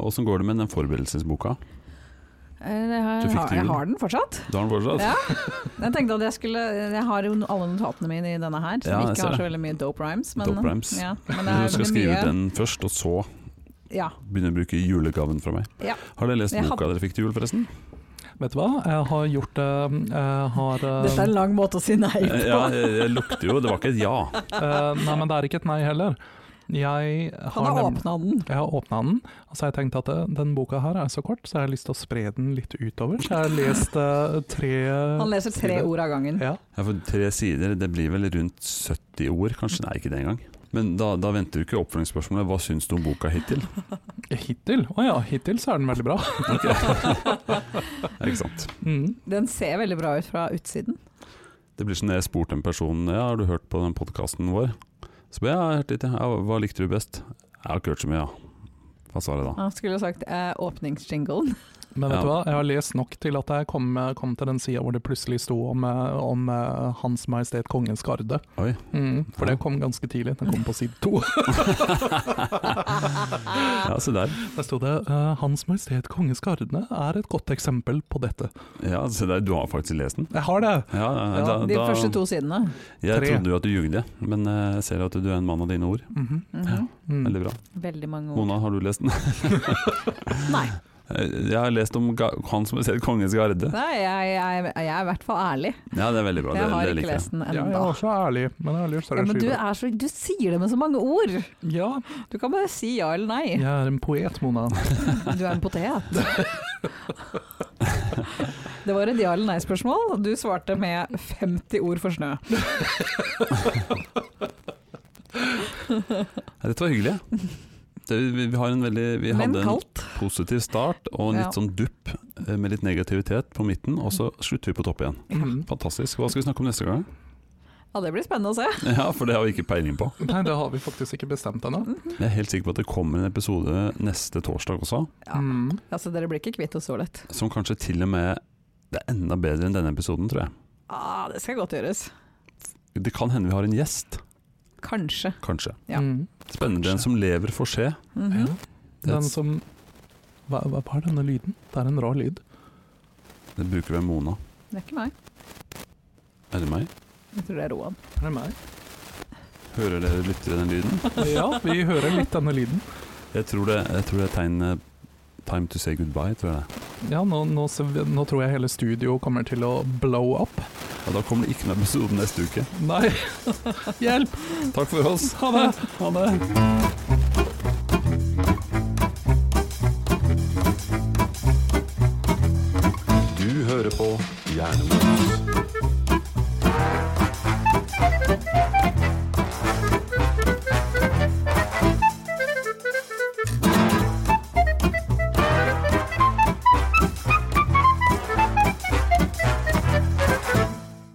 S2: Åssen går det med den forberedelsesboka?
S4: Eh, Jeg har,
S2: Du fikk til
S4: jeg
S2: jul.
S4: har den fortsatt.
S2: Du har den fortsatt?
S4: Ja. Jeg tenkte at jeg skulle Jeg har jo alle notatene mine i denne her, som
S2: Ja, jeg
S4: ikke
S2: ser
S4: har så
S2: det.
S4: veldig mye dope rhymes. Men,
S2: Dope rhymes.
S4: Ja, men det
S2: Men du
S4: er
S2: skal
S4: mye-
S2: skrive ut den først, og så
S4: Ja.
S2: begynne å bruke julegaven fra meg.
S4: Ja.
S2: Har dere lest
S4: Jeg
S2: boka dere fikk til jul, forresten?
S3: Vet du hva, jeg har gjort det jeg har, eh,
S4: Dette er en lang måte å si nei på.
S2: Eh, Ja, jeg, jeg lukter jo Det var ikke et ja.
S3: eh, Nei, men det er ikke et nei heller. Jeg
S4: Han
S3: har
S4: har
S3: nemlig-
S4: åpna den.
S3: jeg har åpna den, og så har jeg tenkt at eh, den boka her er så kort, så jeg har lyst til å spre den litt utover. Så jeg har lest eh, tre
S4: Han leser tre
S3: Sider.
S4: ord av gangen.
S3: Ja.
S2: ja for tre sider, det blir vel rundt 70 ord, kanskje? Nei, ikke det engang. Men da, da venter du ikke oppfølgingsspørsmålet. Hva syns du om boka hittil?
S3: Hittil? Å ja, hittil så er den veldig bra.
S2: Ja, Ikke sant?
S3: Mm.
S4: Den ser veldig bra ut fra utsiden.
S2: Det blir som når jeg spurte en person Ja, har du hørt på den podkasten vår? Så ble jeg, ja, jeg har hørt litt, ja. ja. Hva likte du best? Jeg har ikke hørt så mye, ja. Hva svarer jeg da?
S4: Han skulle sagt eh, åpningsjinglen.
S3: Men vet
S2: Ja.
S3: du hva, jeg har lest nok til at jeg kom, kom til den sida hvor det plutselig sto om, eh, om eh, Hans Majestet Kongens Garde.
S2: Oi.
S3: Mm, for
S2: Ja.
S3: det kom ganske tidlig, den kom på side to.
S2: Ja, se der.
S3: Der sto det eh, 'Hans Majestet Kongens Garde er et godt eksempel på dette'.
S2: Ja, se der. Du har faktisk lest den.
S3: Jeg har det!
S2: Ja,
S3: Ja,
S2: da,
S4: De
S2: da,
S4: første to sidene.
S2: Jeg
S3: Tre.
S2: trodde jo at du jugde, men eh, jeg ser at du er en mann av dine ord.
S3: Mhm.
S4: Mhm.
S3: Mm.
S2: Veldig bra.
S4: Veldig mange ord.
S2: Mona, har du lest den? Eh,
S4: Nei,
S2: Jeg har lest om ga han som har sett Kongens garde.
S4: nei jeg, jeg, jeg er i hvert fall ærlig.
S2: Ja, det er veldig bra.
S4: Jeg
S2: det,
S4: har
S2: det
S4: ikke
S2: liker jeg.
S4: lest den
S3: Ja, jeg er
S4: ennå.
S3: også ærlig, men jeg har lyst til
S4: Ja,
S3: å
S4: men du,
S3: skyte.
S4: er så, du sier det med så mange ord!
S3: Ja,
S4: Du kan bare si ja eller nei.
S3: jeg er en poet, Mona.
S4: Du er en potet. Det var et ja eller nei-spørsmål. Du svarte med 50 ord for snø.
S2: Ja, Dette var hyggelig. Det, vi, vi, har en veldig, vi
S4: Men
S2: hadde en
S4: kaldt.
S2: positiv start og en
S4: Ja.
S2: litt sånn dupp eh, med litt negativitet på midten, og så slutter vi på topp igjen.
S3: Mhm.
S2: Fantastisk. Hva skal vi snakke om neste gang?
S4: Ja, det blir spennende å se.
S2: Ja, For det har vi ikke peiling på.
S3: Nei, det har vi faktisk ikke bestemt ennå.
S4: Mm,
S2: Jeg er helt sikker på at det kommer en episode neste torsdag også,
S4: Ja.
S3: Mm.
S4: Altså, dere blir ikke kvitt oss så lett.
S2: som kanskje til og med det er enda bedre enn denne episoden, tror jeg.
S4: Ah, det skal godt gjøres.
S2: Det kan hende vi har en gjest,
S4: Kanskje.
S2: kanskje.
S4: Ja.
S3: Mm.
S2: Spennende. Den som lever, får se.
S4: Mhm.
S2: Det,
S3: Den som hva, hva hva er denne lyden? Det er en rar lyd.
S2: det bruker vi Mona.
S4: Det er ikke meg.
S2: Er det meg?
S4: Jeg tror det er Roan.
S3: Er det meg?
S2: Hører dere lyttere den lyden?
S3: Ja, vi hører litt denne lyden.
S2: Jeg tror det, jeg tror det er tegn eh, Time to say goodbye, tror jeg det.
S3: Ja, nå, nå, ser vi- nå tror jeg hele studio kommer til å blow up.
S2: er. Og da kommer det ikke noen episode neste uke.
S3: Nei. Hjelp!
S2: Takk for oss.
S3: Ha det! Ha det.
S1: Du hører på Hjernemos.